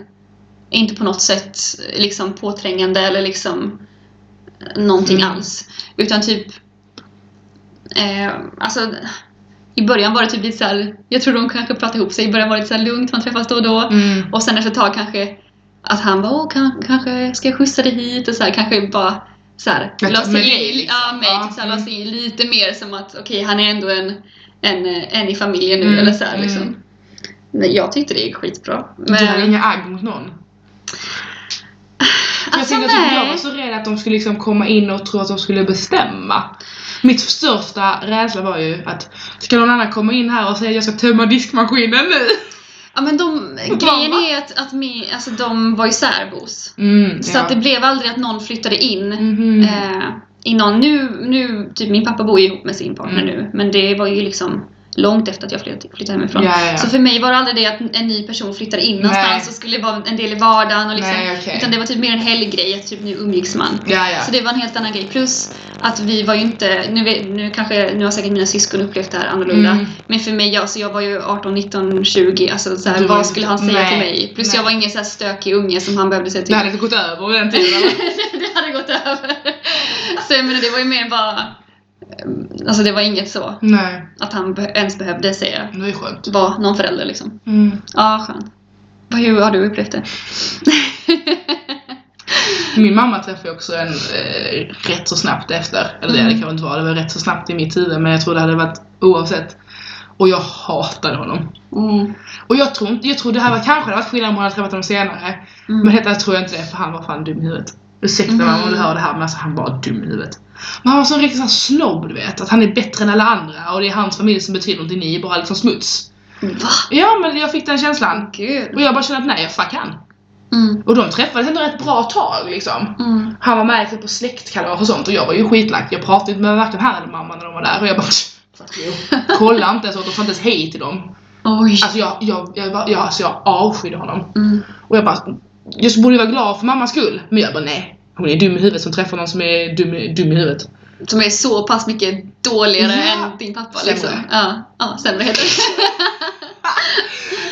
A: inte på något sätt liksom påträngande eller liksom någonting
B: Mm.
A: alls. Utan typ eh, alltså i början var det typ lite såhär, jag tror de kanske pratade ihop sig. I början var det lite såhär lugnt, man träffas då och då.
B: Mm.
A: Och sen efter ett tag kanske att han bara, Åh, kan, kanske ska jag skjutsa dig hit och så här, kanske bara så här,
B: Med-
A: la sig
B: med
A: in,
B: dig, liksom.
A: ja, mig,
B: Ja,
A: typ så här, la
B: mm.
A: sig in lite mer som att okej, han är ändå en, en, eh, en i familjen nu
B: Mm,
A: eller så här,
B: mm.
A: liksom. Nej, jag tyckte det gick skitbra.
B: Du hade
A: Men,
B: inga agg mot någon?
A: alltså
B: jag, tänkte, alltså, jag var
A: nej.
B: så rädd att de skulle liksom komma in och tro att de skulle bestämma. Mitt största rädsla var ju att ska någon annan komma in här och säga att jag ska tömma diskmaskinen nu?
A: Ja, men de, grejen
B: Mamma.
A: är att, att min, alltså, de var ju särbos.
B: Mm,
A: Så att det blev aldrig att någon flyttade in.
B: Mhm.
A: Eh, i någon, nu, nu, typ min pappa bor ju ihop med sin partner
B: Mm.
A: nu, men det var ju liksom långt efter att jag flyttade, flyttade hemifrån.
B: Ja, ja, ja.
A: Så för mig var det aldrig det att en ny person flyttade in någonstans
B: Nej.
A: och skulle vara en del i vardagen. Och liksom,
B: Nej, okej.
A: Utan det var typ mer en helggrej, att typ nu umgicks man.
B: ja, ja.
A: Så det var en helt annan grej. Plus att vi var ju inte, nu, vet- nu, kanske, nu har säkert mina syskon upplevt det här annorlunda.
B: Mm.
A: Men för mig, alltså, jag var ju 18, 19, 20. Alltså, så här,
B: Du var
A: vad
B: inte-
A: skulle han säga
B: Mm. nej,
A: till mig? Plus
B: nej.
A: jag var ingen så här stökig unge som han behövde säga till.
B: Det hade inte gått över vid den tiden eller?
A: det hade gått över. Så jag menar, det var ju mer bara Alltså det var inget så
B: Nej,
A: att han be- ens behövde säga
B: det är skönt.
A: var någon förälder liksom.
B: Mm.
A: Ja, skönt. Hur har du upplevt det?
B: Min mamma träffade jag också en eh, rätt så snabbt efter. Eller det
A: Mm.
B: kanske inte var, det var rätt så snabbt i mitt huvud men jag tror det hade varit oavsett. Och jag hatade honom.
A: Mm.
B: Och jag tror, inte- jag tror det här var kanske det var skillnad om hon hade träffat honom senare. Men
A: Mm.
B: detta tror jag inte det för han var fan dum i huvudet. Ursäkta mamma om du hör det här men alltså han var dum i huvudet. Men han var sån riktig sån här snobb du vet. Att han är bättre än alla andra och det är hans familj som betyder någonting, ni är bara liksom smuts.
A: Va?
B: Ja men jag fick den känslan.
A: Gud.
B: Och jag bara kände att nej jag fuck han.
A: Mm.
B: Och de träffades ändå rätt bra tag liksom.
A: Mm.
B: Han var med liksom, på släktkalas och sånt och jag var ju skitlack. Jag pratade inte med varken han eller mamma när de var där och jag bara fuck you. Kolla inte ens åt dem, sa inte ens hej till dem.
A: Oj.
B: Alltså jag, jag, jag, var- jag, alltså, jag avskydde honom.
A: Mm.
B: Och jag bara, jag borde vara glad för mammas skull. Men jag bara nej. Hon är dum i huvudet som träffar någon som är dum, i- dum i huvudet.
A: Som är så pass mycket dåligare
B: Ja.
A: än din pappa
B: Sämre.
A: liksom. Ja, ja sämre heter det.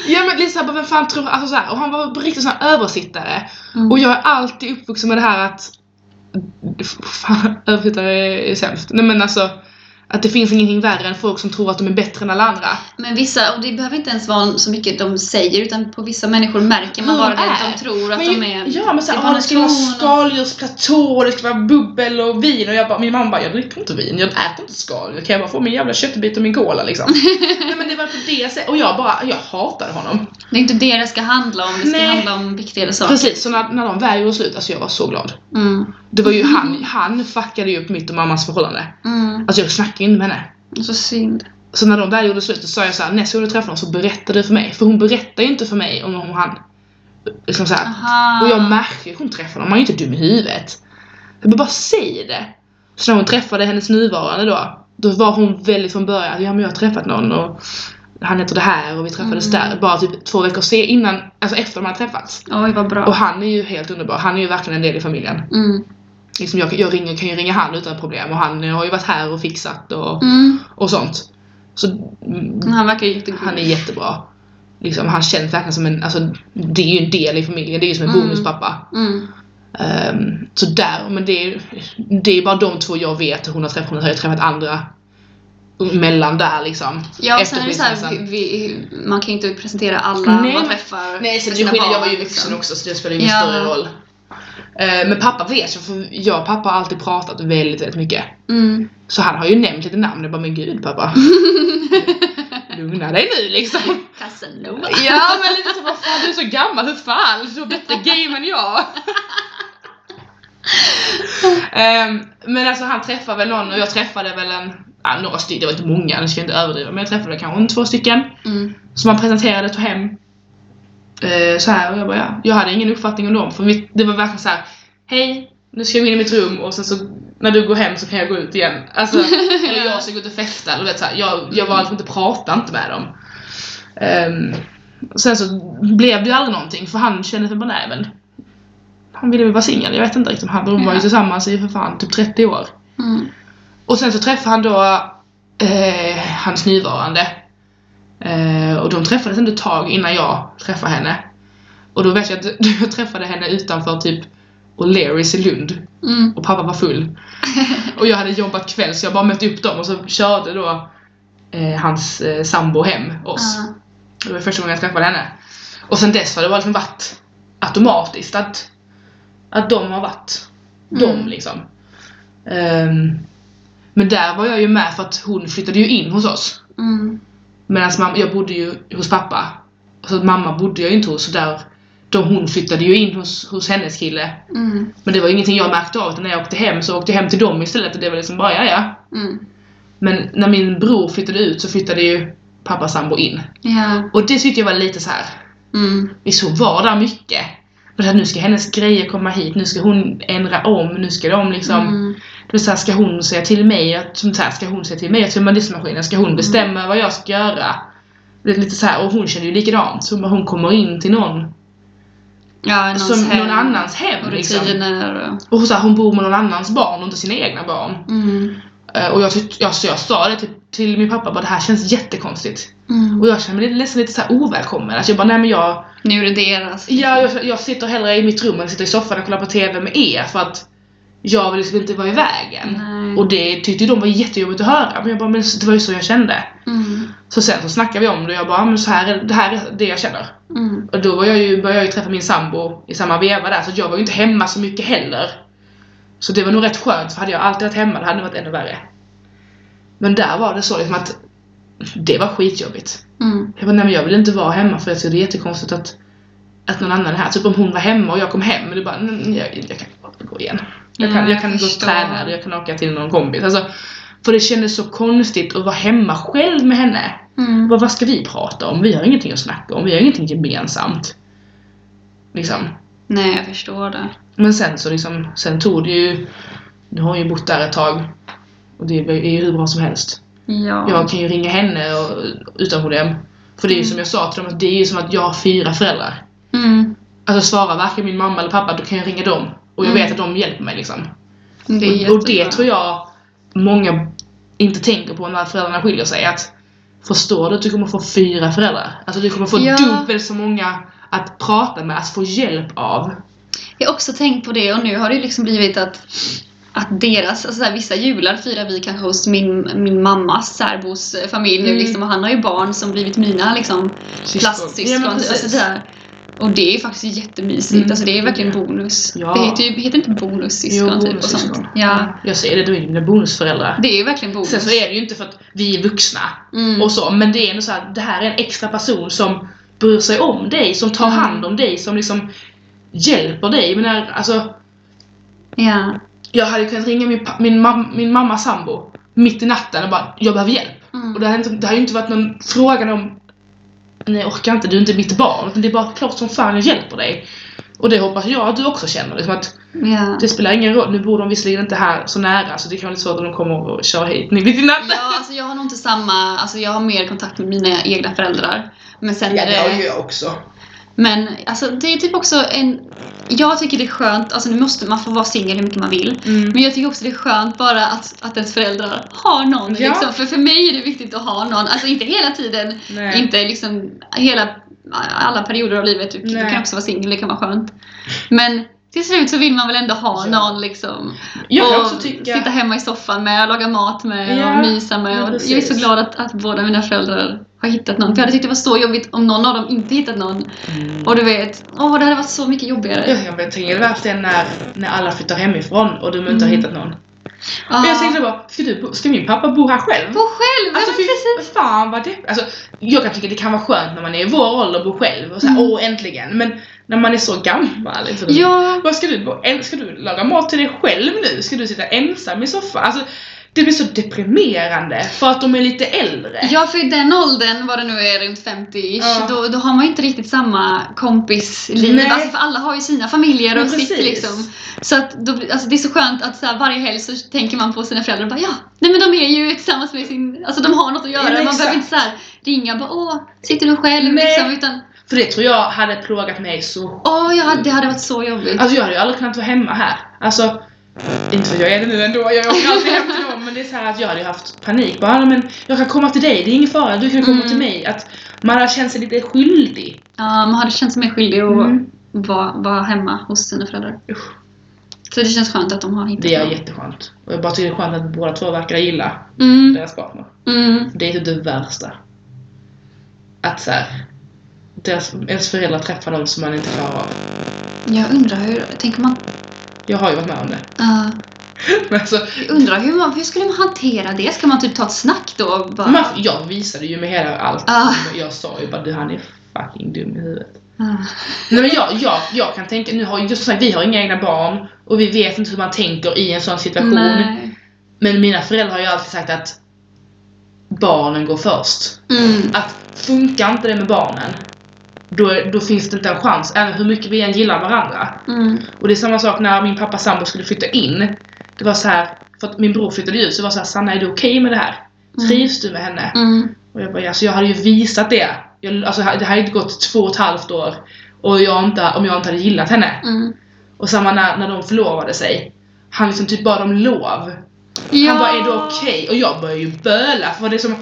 B: Ja men Lisa bara, vem fan tror, alltså så här, och han var på riktigt sån här översittare.
A: Mm.
B: Och jag är alltid uppvuxen med det här att, fan översittare är sämst. Nej men alltså, att det finns ingenting värre än folk som tror att de är bättre än alla andra.
A: Men vissa, och det behöver inte ens vara så mycket de säger utan på vissa människor märker man
B: Hur
A: bara
B: de
A: det
B: är.
A: att de tror att
B: Men
A: de är...
B: Ja men
A: det är
B: såhär,
A: bara
B: ah, det ska vara
A: nation och-
B: skaldjursplatå och det ska vara bubbel och vin och jag bara, min mamma bara, jag dricker inte vin, jag äter inte skaldjur, kan jag bara få min jävla köttbit och min cola liksom? Nej men det var på det sättet, och jag bara, jag hatade honom.
A: Det är inte det det ska handla om, det ska
B: Nej.
A: handla om viktigare saker.
B: Precis, så när, när de väl gjorde slut, alltså jag var så glad.
A: Mm.
B: Det var ju han, han fuckade ju upp mitt och mammas förhållande.
A: Mm.
B: Alltså jag snackade ju inte med henne.
A: Så synd.
B: Så när de väl gjorde slut så sa jag så här: nästa gång du träffar någon så berätta det för mig. För hon berättar ju inte för mig om, om han. Liksom så här,
A: Aha.
B: Och jag märker ju, hon träffar honom, han är ju inte dum i huvudet. Jag bara, bara säg det! Så när hon träffade hennes nuvarande då, då var hon väldigt från början, ja men jag har träffat någon och han heter det här och vi träffades
A: Mm.
B: där. Bara typ två veckor se innan, alltså efter de hade träffats.
A: Oj, vad bra.
B: Och han är ju helt underbar, han är ju verkligen en del i familjen.
A: Mm.
B: Liksom jag, jag ringer, kan ju ringa han utan problem och han har ju varit här och fixat och,
A: Mm.
B: och sånt. Så mm,
A: Men Han verkar ju jättegod.
B: han är jättebra. Liksom, han känns verkligen som en, alltså det är ju en del i familjen, det är ju som en
A: Mm.
B: bonuspappa.
A: Mm.
B: Ehm, så där, men det är, det är bara de två jag vet hon har träffat. Hon har ju träffat andra mellan där liksom.
A: Ja, och
B: Efter
A: sen är det så här, vi,
B: skilsmässan.
A: vi, man kan ju inte presentera alla
B: Nej,
A: man
B: men-
A: träffar.
B: Nej, så
A: för
B: det
A: sina
B: skiljer, jag var ju
A: barn,
B: vuxen
A: liksom.
B: också så det spelar ju
A: Ja.
B: ingen större roll. Ehm, men pappa vet ju, för jag och pappa har alltid pratat väldigt, väldigt mycket.
A: Mm.
B: Så han har ju nämnt lite namn, jag bara men gud pappa. Lugna dig nu liksom.
A: Casanova.
B: Ja men lite så, vad fan du är så gammal, hur fan, du har bättre game än jag. Ehm, men alltså han träffar väl någon och jag träffade väl en, ja, några stycken, det var inte många, nu ska jag inte överdriva, men jag träffade kanske en, två stycken
A: Mm.
B: som han presenterade, tog hem. Eh, så här och jag bara ja, jag hade ingen uppfattning om dem för mitt, det var verkligen så här. hej, nu ska jag gå in i mitt rum och sen så när du går hem så kan jag gå ut igen. Alltså, eller jag ska gå ut och festa eller vet, så här, jag, jag var liksom inte, pratade inte med dem. Ehm, och sen så blev det ju aldrig någonting för han kände sig bara nej men han ville väl vara singel, jag vet inte riktigt. Han, de var ju
A: Ja.
B: tillsammans i för fan typ 30 år.
A: Mm.
B: Och sen så träffade han då eh, hans nuvarande. Eh, och de träffades ändå ett tag innan jag träffade henne. Och då vet jag att jag träffade henne utanför typ O'Learys i Lund.
A: Mm.
B: Och pappa var full. Och jag hade jobbat kväll så jag bara mötte upp dem och så körde då eh, hans eh, sambo hem oss.
A: Ja.
B: Det var första gången jag träffade henne. Och sen dess har det bara liksom varit automatiskt att, att de har varit
A: Mm.
B: de liksom. Ehm, men där var jag ju med för att hon flyttade ju in hos oss.
A: Mm.
B: Medan mamma, jag bodde ju hos pappa. Så att mamma bodde jag ju inte hos. Så där, då hon flyttade ju in hos, hos hennes kille.
A: Mm.
B: Men det var ju ingenting jag märkte av. Utan när jag åkte hem så åkte jag hem till dem istället. Och det var liksom bara ja ja.
A: Mm.
B: Men när min bror flyttade ut så flyttade ju pappas sambo in.
A: Ja.
B: Och det tyckte jag var lite så här.
A: Mm.
B: Vi så var där mycket. Och att nu ska hennes grejer komma hit, nu ska hon ändra om, nu ska de liksom...
A: Mm.
B: Det vill säga, ska hon säga till mig att sånt här ska hon säga till mig att tömma diskmaskinen? Ska
A: Mm.
B: hon bestämma vad jag ska göra? Det är lite så här, och hon känner ju likadant. Så om hon kommer in till någon,
A: Ja, någons
B: som
A: hem
B: någon annans
A: och
B: hem. Liksom.
A: rutiner och...
B: Och så här, hon bor med någon annans barn och inte sina egna barn.
A: Mm.
B: Eh, Och jag, tyck- jag, så jag sa det till, till min pappa, bara, det här känns jättekonstigt.
A: Mm.
B: Och jag känner mig nästan lite så här ovälkommen. Att jag bara, nej men jag,
A: Nu är det deras.
B: Ja, jag, jag sitter hellre i mitt rum än sitter i soffan och kollar på TV med er för att jag vill liksom inte vara i vägen.
A: Nej.
B: Och det tyckte de var jättejobbigt att höra. Men jag bara, men det var ju så jag kände.
A: Mm.
B: Så sen så snackade vi om det och jag bara, men så här är, det här är det jag känner.
A: Mm.
B: Och då var jag ju, började jag ju träffa min sambo i samma veva där, så jag var ju inte hemma så mycket heller. Så det var nog rätt skönt, för hade jag alltid varit hemma, det hade nog varit ännu värre. Men där var det så liksom att det var skitjobbigt.
A: Mm.
B: Jag bara, nej men jag vill inte vara hemma för jag tycker det är jättekonstigt att, att någon annan är här. Typ om hon var hemma och jag kom hem, och det bara, nej, jag, jag kan bara gå igen. Jag kan,
A: Ja,
B: jag kan gå och
A: förstår.
B: träna, eller jag kan åka till någon kompis. Alltså, för det kändes så konstigt att vara hemma själv med henne.
A: Mm.
B: Vad, vad ska vi prata om? Vi har ingenting att snacka om. Vi har ingenting gemensamt. Liksom.
A: Nej, jag förstår det.
B: Men sen så liksom, sen tog det ju... Nu har jag ju bott där ett tag. Och det är ju hur bra som helst.
A: Ja.
B: Jag kan ju ringa henne och, utan problem. För det är ju som jag sa till dem, att det är ju som att jag har fyra föräldrar.
A: Mm.
B: Alltså svarar varken min mamma eller pappa, då kan jag ringa dem. Och jag
A: Mm.
B: vet att de hjälper mig liksom.
A: Det är
B: Och, och det
A: jättebra.
B: tror jag många inte tänker på när föräldrarna skiljer sig. Att förstår du att du kommer få fyra föräldrar? Alltså du kommer få
A: Ja.
B: dubbelt så många att prata med, att få hjälp av.
A: Jag har också tänkt på det och nu har det ju liksom blivit att, att deras, alltså så här, vissa jular firar vi kanske hos min, min mammas särbos eh, familj
B: Mm.
A: liksom, och han har ju barn som blivit mina liksom, plastsyskon.
B: Ja,
A: typ,
B: men
A: alltså,
B: precis.
A: där. Och det är faktiskt jättemysigt,
B: Mm.
A: alltså det är verkligen bonus.
B: Ja.
A: Det heter, ju, heter inte bonussyskon
B: Jo,
A: typ och sånt.
B: bonussyskon.
A: Ja.
B: Jag säger det, du är dina bonusföräldrar.
A: Det är ju verkligen bonus.
B: Sen så är det ju inte för att vi är vuxna
A: mm.
B: och så, men det är ändå så här, det här är en extra person som bryr sig om dig, som tar
A: Mm.
B: hand om dig, som liksom hjälper dig. Men när, alltså,
A: ja.
B: Jag hade kunnat ringa min, pa- min, mam, min mamma sambo mitt i natten och bara jag behöver hjälp.
A: Mm.
B: Och det hade, inte, det hade ju inte varit någon fråga om nej jag orkar inte, du är inte mitt barn. Utan det är bara klart som fan jag hjälper dig. Och det hoppas jag att du också känner. Liksom att
A: ja.
B: det spelar ingen roll, nu bor de visserligen inte här så nära så det kan vara lite svårt om de kommer och kör hit mitt i natten.
A: Ja, alltså jag har nog inte samma, alltså jag har mer kontakt med mina egna föräldrar. Men sen är det...
B: jag också.
A: Men alltså, det är typ också en... Jag tycker det är skönt, alltså nu måste man få vara singel hur mycket man vill.
B: Mm.
A: Men jag tycker också det är skönt bara att, att ens föräldrar har någon.
B: Ja.
A: Liksom. För för mig är det viktigt att ha någon. Alltså inte hela tiden,
B: Nej.
A: inte liksom hela, alla perioder av livet. Du, du
B: Nej.
A: kan också vara singel, det kan vara skönt. Men till slut så vill man väl ändå ha
B: Ja.
A: någon liksom.
B: jag kan
A: och
B: också tycka...
A: sitta hemma i soffan med, laga mat med
B: Ja,
A: och mysa med.
B: men
A: och jag är
B: precis.
A: så glad att, att båda mina föräldrar har hittat någon. För jag hade tyckt det var så jobbigt om någon av dem inte hittat någon.
B: Mm.
A: Och du vet, åh det hade varit så mycket jobbigare.
B: Jag, jag tänker det värsta är när, när alla flyttar hemifrån och de inte har
A: Mm.
B: hittat någon.
A: Ah.
B: Men jag tänkte bara, ska, du, bo- ska min pappa bo här själv?
A: Bo själv!
B: Alltså
A: ja, men precis.
B: fy fan vad deppigt. Alltså, jag kan tycka det kan vara skönt när man är i vår ålder och bor själv och såhär
A: Mm.
B: åh äntligen. Men när man är så gammal. Liksom,
A: Ja,
B: Vad ska du bo? en- Ska du laga mat till dig själv nu? Ska du sitta ensam i soffan? Alltså, det blir så deprimerande för att de är lite äldre.
A: ja, för i den åldern, vad det nu är, runt 50-ish,
B: Ja.
A: då, då har man ju inte riktigt samma kompisliv.
B: Nej.
A: Alltså, för alla har ju sina familjer och
B: Men
A: sitt
B: precis.
A: liksom. Så att då, blir- alltså, det är så skönt att så här, varje helg så tänker man på sina föräldrar och bara ja, nej men de är ju tillsammans med sin, alltså de har något att göra.
B: Ja, men
A: man behöver
B: exakt.
A: inte så här, ringa och bara åh, sitter du själv?
B: Nej.
A: Liksom, utan
B: För det tror jag hade plågat mig så
A: åh, jag hade, det hade varit så jobbigt.
B: Alltså jag hade ju aldrig kunnat vara hemma här. Alltså, inte för att jag är det nu ändå, jag åker alltid hem till dem. Men det är så här att jag hade ju haft panik. Bara, "Ja, men jag kan komma till dig, det är ingen fara, du kan komma
A: Mm.
B: till mig. Att man hade känt sig lite skyldig.
A: Ja, man hade känt sig mer skyldig att
B: Mm.
A: vara, vara hemma hos sina föräldrar.
B: Usch.
A: Så det känns skönt att de har hittat
B: Det är
A: någon.
B: jätteskönt. Och jag bara tycker det är skönt att båda två verkar gilla
A: Mm,
B: deras partner.
A: mm,
B: Det är typ det värsta. Att så här, deras, ens föräldrar träffar någon som man inte klarar av.
A: jag undrar hur, tänker man,
B: Jag har ju varit med om det.
A: ah,
B: Men alltså,
A: jag undrar hur man, hur skulle man hantera det? Ska man typ ta ett snack då? och Bara,
B: man, jag visade ju med hela allt.
A: Ah.
B: Jag sa ju bara du han är fucking dum i huvudet.
A: Ah,
B: Nej men jag, jag, jag kan tänka, nu har ju som sagt vi har inga egna barn och vi vet inte hur man tänker i en sån situation.
A: nej.
B: Men mina föräldrar har ju alltid sagt att barnen går först.
A: Mm,
B: Att funkar inte det med barnen, då, då finns det inte en chans, även hur mycket vi än gillar varandra.
A: mm,
B: Och det är samma sak när min pappa sambo skulle flytta in. Det var så här, för att min bror flyttade ut, så det var så här, Sanna är du okej med det här? Trivs du med henne?
A: mm,
B: Och jag bara, ja, så jag hade ju visat det. Jag, alltså, det hade gått två och ett halvt år och jag inte, om jag inte hade gillat henne.
A: mm.
B: Och samma när, när de förlovade sig. Han liksom typ bad om lov.
A: Ja.
B: Han bara, är det okej? Och jag började ju böla. För det är som,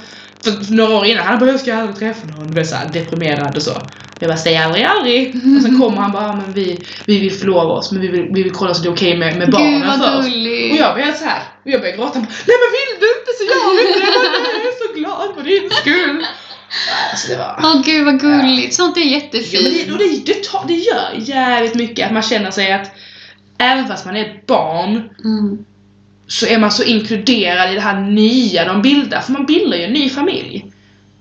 B: för några år innan, han bara, jag ska aldrig träffa någon. Blev såhär deprimerad och så. Jag bara säger aldrig aldrig. Och sen kommer han bara, "Ja, men vi, vi vill förlova oss men vi vill, vi vill kolla så det är okej med, med barnen
A: Gud vad
B: först. Och
A: gulligt!
B: jag började så här. och jag började gråta. Han bara, Nej men vill du inte så gör vi inte det. Jag bara, "Nej, Jag är så glad för din skull. Alltså det var...
A: Åh gud vad gulligt, sånt är
B: Ja, men det, och
A: jättefint.
B: det, det, tar, det gör jävligt mycket att man känner sig att även fast man är ett barn
A: Mm.
B: så är man så inkluderad i det här nya de bildar. För man bildar ju en ny familj.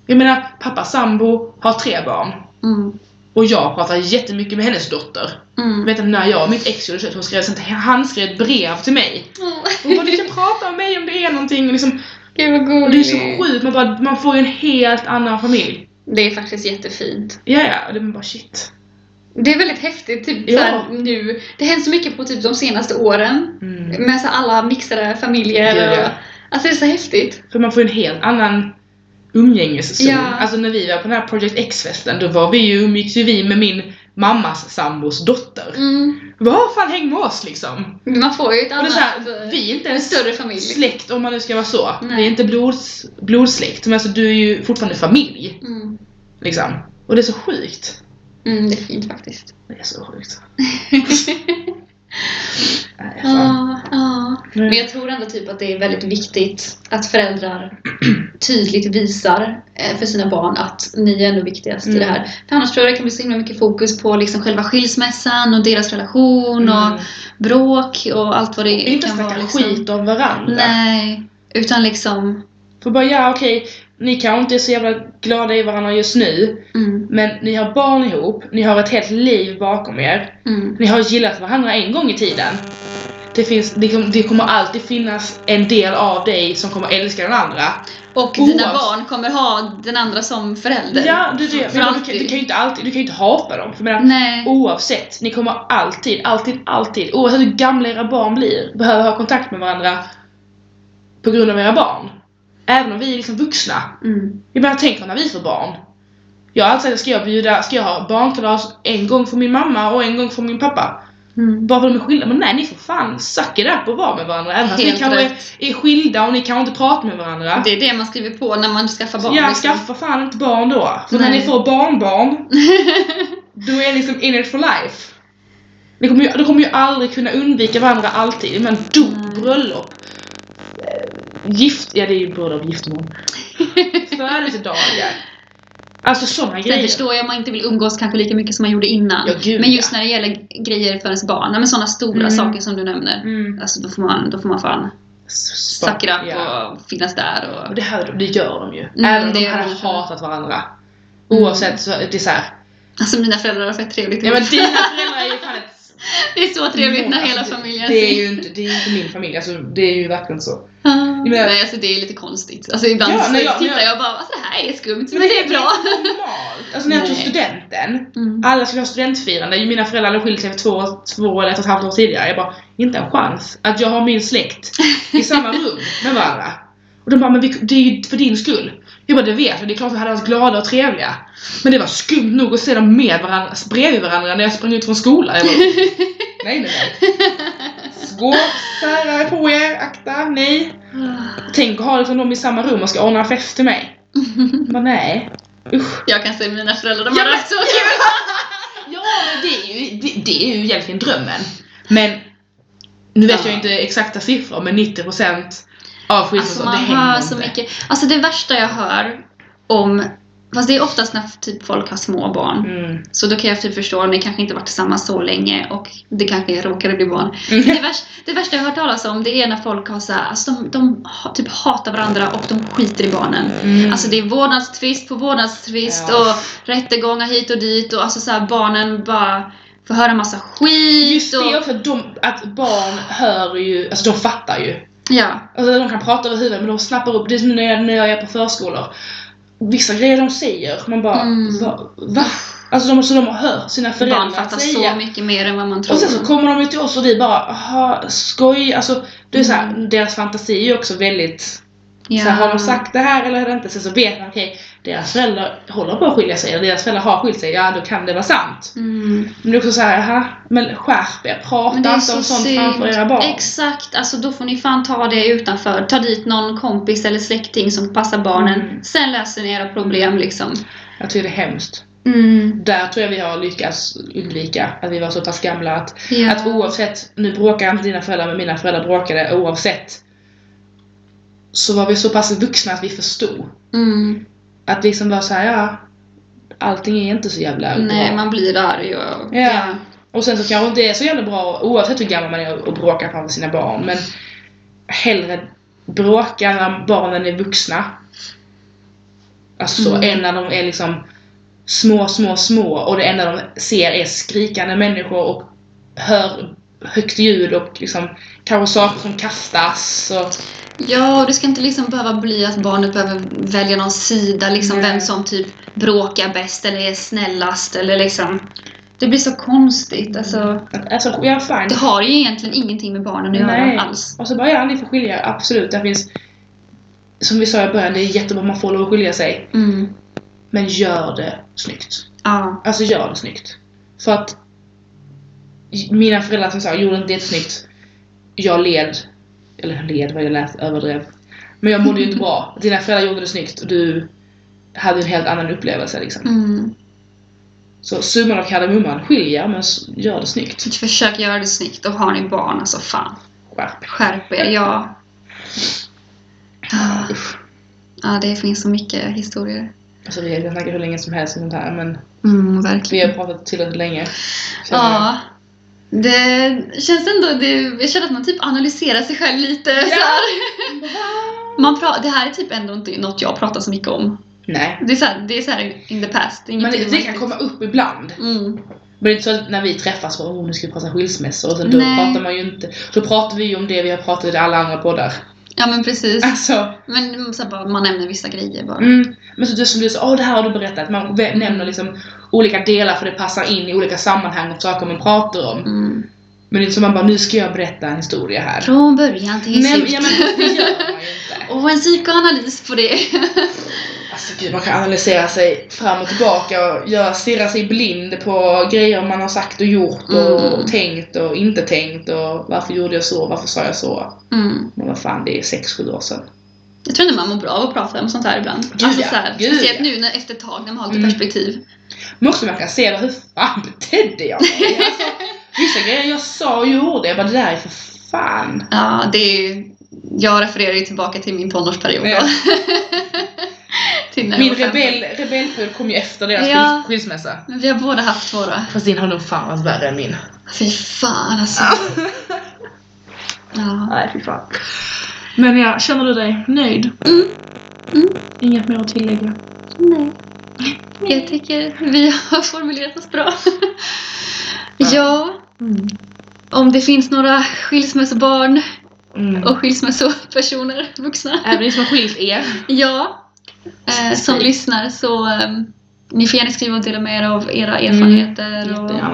B: Jag menar, pappa sambo har tre barn.
A: Mm.
B: Och jag pratar jättemycket med hennes dotter. Jag
A: Mm.
B: vet att när jag och mitt ex gjorde slut, hon skrev, sånt- han skrev ett brev till mig.
A: Åh,
B: Hon bara, du kan prata med mig om det är någonting. Och liksom,
A: Gud vad
B: och det är
A: gulligt.
B: så sjukt, man, bara, man får ju en helt annan familj.
A: Det är faktiskt jättefint.
B: Ja, ja, och det är bara shit.
A: Det är väldigt häftigt typ
B: Ja.
A: såhär, nu. Det händer så mycket på typ de senaste åren.
B: Mm.
A: Med så alla mixade familjer.
B: Ja, ja.
A: Och, alltså det är så häftigt.
B: För man får en helt annan umgängeszon.
A: Ja.
B: Alltså när vi var på den här Project X-festen, då var vi ju, umgicks ju vi med min mammas sambos dotter.
A: Mm.
B: Vad fan häng med oss liksom?
A: Man får ju ett
B: Och det är
A: annat... eh,
B: så här, vi är inte
A: en
B: ens
A: större familj.
B: släkt om man nu ska vara så.
A: Nej.
B: Vi är inte blods, blodsläkt, men alltså du är ju fortfarande familj.
A: Mm.
B: Liksom. Och det är så sjukt.
A: Mm, det är fint faktiskt.
B: Det är så sjukt. Nej, fan.
A: Ja, ja.
B: Mm.
A: Men jag tror ändå typ att det är väldigt viktigt att föräldrar tydligt visar eh, för sina barn att ni är ändå viktigast i
B: Mm.
A: det här. För annars tror jag det kan bli så himla mycket fokus på liksom själva skilsmässan och deras relation och
B: Mm.
A: bråk och allt vad det
B: Inte
A: kan vara.
B: snacka
A: Liksom.
B: skit om varandra.
A: Nej, utan liksom...
B: För bara ja okej, ni kanske inte är så jävla glada i varandra just nu.
A: Mm,
B: Men ni har barn ihop, ni har ett helt liv bakom er.
A: mm,
B: Ni har gillat varandra en gång i tiden. Det, finns, det, kom- det kommer alltid finnas en del av dig som kommer älska den andra.
A: Och dina
B: Oavs-
A: barn kommer ha den andra som förälder.
B: Ja, du, du,
A: För
B: men du, kan-
A: alltid.
B: du kan ju inte alltid, du kan ju inte hata dem. För jag menar,
A: Nej.
B: oavsett, ni kommer alltid, alltid, alltid, oavsett hur gamla era barn blir, behöva ha kontakt med varandra på grund av era barn. Även om vi är liksom vuxna.
A: Mm,
B: Jag menar, tänk när vi får barn. Jag har alltid sagt, ska jag bjuda, ska jag ha barnkalas en gång för min mamma och en gång för min pappa?
A: mm,
B: Bara för att de är skilda. Men nej, ni får fan suck it up och vara med varandra. Även fast ni
A: Helt
B: kanske är,
A: rätt.
B: är skilda och ni kanske inte pratar med varandra.
A: Det är det man skriver på när man skaffar barn.
B: ja,
A: liksom.
B: skaffa fan inte barn då. För när
A: Nej.
B: ni får barnbarn, då är ni liksom in it for life. Ni kommer ju, du kommer ju aldrig kunna undvika varandra alltid. Men du,
A: Nej.
B: bröllop. eh, Gift, ja det är ju bröllop, giftermål. Födelsedagar. Alltså sådana
A: Sen
B: grejer.
A: förstår jag om man inte vill umgås kanske lika mycket som man gjorde innan.
B: Ja, gud,
A: men just när det gäller grejer för ens barn, nej, men sådana stora
B: Mm.
A: saker som du nämner.
B: Mm.
A: Alltså då får man, då får man fan suck it up
B: Ja.
A: och finnas där
B: Och
A: och...
B: det, här, det gör de ju.
A: Mm,
B: Även om
A: det
B: de
A: gör
B: hade
A: de Mm. för.
B: hatat varandra. Oavsett så, det är såhär.
A: Alltså mina föräldrar har fett trevligt
B: Ja men dina föräldrar är ju fan ett
A: Det är så trevligt när hela
B: Alltså, det-
A: familjen
B: Det är ju
A: ses.
B: inte, det är inte min familj, alltså, det är ju verkligen så.
A: Ah,
B: men-
A: Nej alltså det är lite konstigt. Alltså ibland
B: Ja,
A: så
B: nej, jag-
A: tittar
B: jag-
A: jag och bara alltså det här är skumt men, det är bra.
B: normalt. Alltså när jag tog
A: Nej.
B: studenten,
A: Mm.
B: alla skulle ha studentfirande, ju mina föräldrar hade skilt sig för två, två eller ett och ett halvt år tidigare. Jag bara, inte en chans att jag har min släkt i samma rum med varandra. Och de bara, men vi, det är ju för din skull. Jag bara, det vet jag, det är klart att vi hade varit glada och trevliga. Men det var skumt nog att se dem med varandra, bredvid varandra när jag sprang ut från skolan. Jag bara, nej, nej, nej. Skål, sära på er, akta, nej. Tänk att ha liksom dem i samma rum och ska ordna en fest till mig. Jag bara, nej. Usch.
A: Jag kan säga mina föräldrar, de
B: Ja,
A: har
B: men-
A: haft så kul.
B: Ja, men det är ju, det, det är ju egentligen drömmen. Men nu vet
A: Ja.
B: jag inte exakta siffror, men 90% av
A: Alltså
B: skilsmässor,
A: man
B: det händer
A: hör
B: inte.
A: så mycket. Alltså det värsta jag hör om, fast det är oftast när typ folk har små barn.
B: Mm.
A: Så då kan jag typ förstå, ni kanske inte varit tillsammans så länge och det kanske råkade bli barn.
B: Mm.
A: Det, värsta, det värsta jag har hört talas om det är när folk har så här, alltså de, de ha, typ hatar varandra och de skiter i barnen.
B: Mm.
A: Alltså det är vårdnadstvist på vårdnadstvist
B: Ja.
A: och rättegångar hit och dit och alltså så här, barnen bara får höra massa skit.
B: Just det
A: och,
B: också, att de, att barn hör ju, alltså de fattar ju.
A: ja.
B: Alltså de kan prata över huvudet men de snappar upp, det är som när jag, när jag är på förskolor. Vissa grejer de säger, man bara
A: Mm.
B: va? va? Alltså de, så de har hört sina föräldrar
A: Barn fattar
B: säga.
A: så mycket mer än vad man tror.
B: Och sen så kommer de ju till oss och vi bara aha, skoj, alltså det är så här, deras fantasi är ju också väldigt
A: Mm. ja.
B: så här, har de sagt det här eller har de inte? Sen så vet man okej, deras föräldrar håller på att skilja sig eller deras föräldrar har skilt sig, ja då kan det vara sant.
A: Mm.
B: Men det är också så här, aha, men skärp er, prata
A: Men det är
B: inte
A: så
B: om sånt
A: synd.
B: framför era barn.
A: Exakt, alltså då får ni fan ta det utanför. Ta dit någon kompis eller släkting som passar barnen.
B: Mm.
A: Sen löser ni era problem liksom.
B: Jag tycker det är hemskt.
A: Mm.
B: Där tror jag vi har lyckats undvika att vi var så pass gamla att,
A: Ja.
B: att oavsett, nu bråkar inte dina föräldrar men mina föräldrar bråkade oavsett. Så var vi så pass vuxna att vi förstod.
A: Mm.
B: Att liksom bara såhär, ja. Allting är inte så jävla
A: Nej,
B: bra.
A: man blir arg och...
B: Ja. Och sen så kanske det inte är så jävla bra oavsett hur gammal man är och bråkar framför sina barn. Men hellre bråka när barnen är vuxna. Alltså så,
A: Mm.
B: än när de är liksom små, små, små och det enda de ser är skrikande människor och hör högt ljud och liksom kanske saker som kastas. Och,
A: Ja, och det ska inte liksom behöva bli att barnet behöver välja någon sida, liksom
B: Nej.
A: vem som typ bråkar bäst eller är snällast eller liksom... Det blir så konstigt. Alltså,
B: alltså, ja fine.
A: det har ju egentligen ingenting med barnen att
B: Nej.
A: göra alls.
B: Och så bara, ja ni får skilja er, absolut. Det finns, som vi sa i början, det är jättebra man får lov att skilja sig.
A: Mm.
B: Men gör det snyggt.
A: Ja.
B: Alltså gör det snyggt. För att mina föräldrar som sa gjorde inte det snyggt. Jag led. Eller led vad jag lät, överdrev. Men jag mådde ju inte bra. Dina föräldrar gjorde det snyggt och du hade en helt annan upplevelse liksom.
A: Mm.
B: Så summan av kardemumman skiljer men s- gör det snyggt.
A: Typ Försök göra det snyggt och har ni barn, alltså fan.
B: Skärp
A: Skärp er, ja. Ah.
B: Usch.
A: Ja, det finns så mycket historier.
B: Alltså vi kan snacka hur länge som helst om sånt här men
A: Mm,
B: vi
A: verkligen.
B: har pratat tillräckligt länge. känner jag.
A: Ja. Det känns ändå... Det, jag känner att man typ analyserar sig själv lite. Så här. Man pra- det här är typ ändå inte något jag pratar så mycket om.
B: Nej.
A: Det är såhär det är så här in the past. Det är
B: Men det,
A: ingenting man-
B: det
A: typ-
B: kan komma upp ibland.
A: Mm.
B: Men det är inte så att när vi träffas bara oh, nu ska vi prata skilsmässor och sen då
A: Nej.
B: pratar man ju inte. Då pratar vi ju om det vi har pratat i alla andra poddar.
A: Ja men precis.
B: Alltså,
A: Men så här, bara, man nämner vissa grejer bara.
B: mm. Men så det som du sa, åh det här har du berättat. Man vä- nämner liksom olika delar för det passar in i olika sammanhang och saker man pratar om.
A: Mm.
B: Men det är inte som man bara, nu ska jag berätta en historia här.
A: Från början till
B: Nej, men,
A: slut.
B: ja, men det gör man ju inte.
A: Och en psykoanalys på det.
B: Alltså gud, man kan analysera sig fram och tillbaka och göra, stirra sig blind på grejer man har sagt och gjort och
A: Mm.
B: tänkt och inte tänkt och varför gjorde jag så, varför sa jag så?
A: Mm.
B: Men vad fan, det är 6-7 år sedan.
A: Jag tror inte man mår bra av att prata om sånt här ibland.
B: Gud,
A: alltså,
B: ja.
A: så här,
B: Gud,
A: speciellt
B: ja.
A: nu när, efter ett tag när man har lite
B: Mm.
A: perspektiv.
B: Men också man kan se då, hur fan betedde jag mig? Alltså, vissa grejer jag sa och gjorde, jag bara det där är för fan.
A: Ja, det är ju, jag refererar ju tillbaka till min tonårsperiod.
B: Ja.
A: då. till när jag
B: Min
A: var femton.
B: rebell, rebellperiod kom ju efter deras
A: Ja.
B: skil- skilsmässa.
A: Men vi har båda haft våra.
B: Fast din har nog fan varit värre än min.
A: Fy fan alltså. Ja.
B: Nej, fy fan. Men ja, känner du dig nöjd?
A: Mm. Mm.
B: Inget mer att tillägga?
A: Nej. Jag tycker vi har formulerat oss bra. Ja,
B: Mm.
A: om det finns några skilsmässobarn
B: Mm.
A: och skilsmässopersoner, vuxna,
B: Även ni som har skilt er.
A: ja, eh, som lyssnar så eh, ni får gärna skriva och dela med er av era erfarenheter. och,
B: Mm.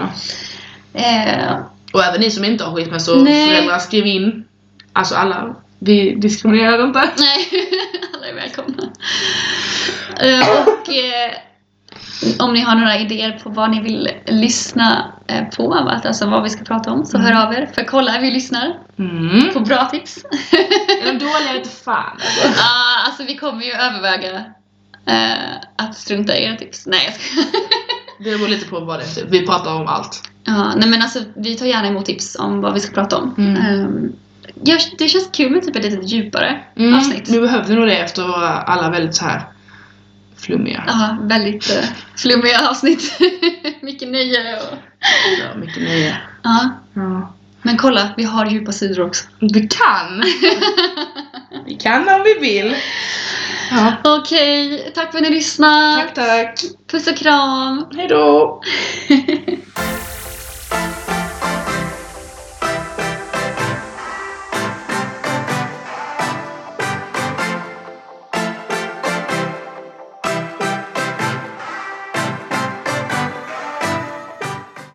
B: Jättegärna.
A: eh,
B: Och även ni som inte har skilsmässor,
A: Nej.
B: föräldrar, skriv in. Alltså alla, vi diskriminerar inte.
A: nej, alla är välkomna. Eh, och eh, om ni har några idéer på vad ni vill lyssna eh, på, va? alltså vad vi ska prata om, så
B: Mm.
A: hör av er. För kolla, vi lyssnar.
B: Mm.
A: på bra tips.
B: Är de dåliga vete fan alltså.
A: Ah, alltså vi kommer ju överväga eh, att strunta i era tips. Nej jag skojar.
B: Det beror lite på vad det är typ. Vi pratar om allt.
A: Ja, nej men alltså vi tar gärna emot tips om vad vi ska prata om.
B: Mm.
A: Ehm, jag, det känns kul med typ ett lite djupare
B: Mm.
A: avsnitt.
B: Vi behövde nog det efter våra alla väldigt så här flummiga.
A: Ja, väldigt eh, flummiga avsnitt. Mycket nöje och...
B: Så mycket nöje.
A: Ja,
B: Ja.
A: men kolla, vi har djupa sidor också.
B: Vi kan! vi kan om vi vill. Ja.
A: Okej, tack för att ni lyssnade.
B: Tack tack.
A: Puss och kram.
B: Hejdå!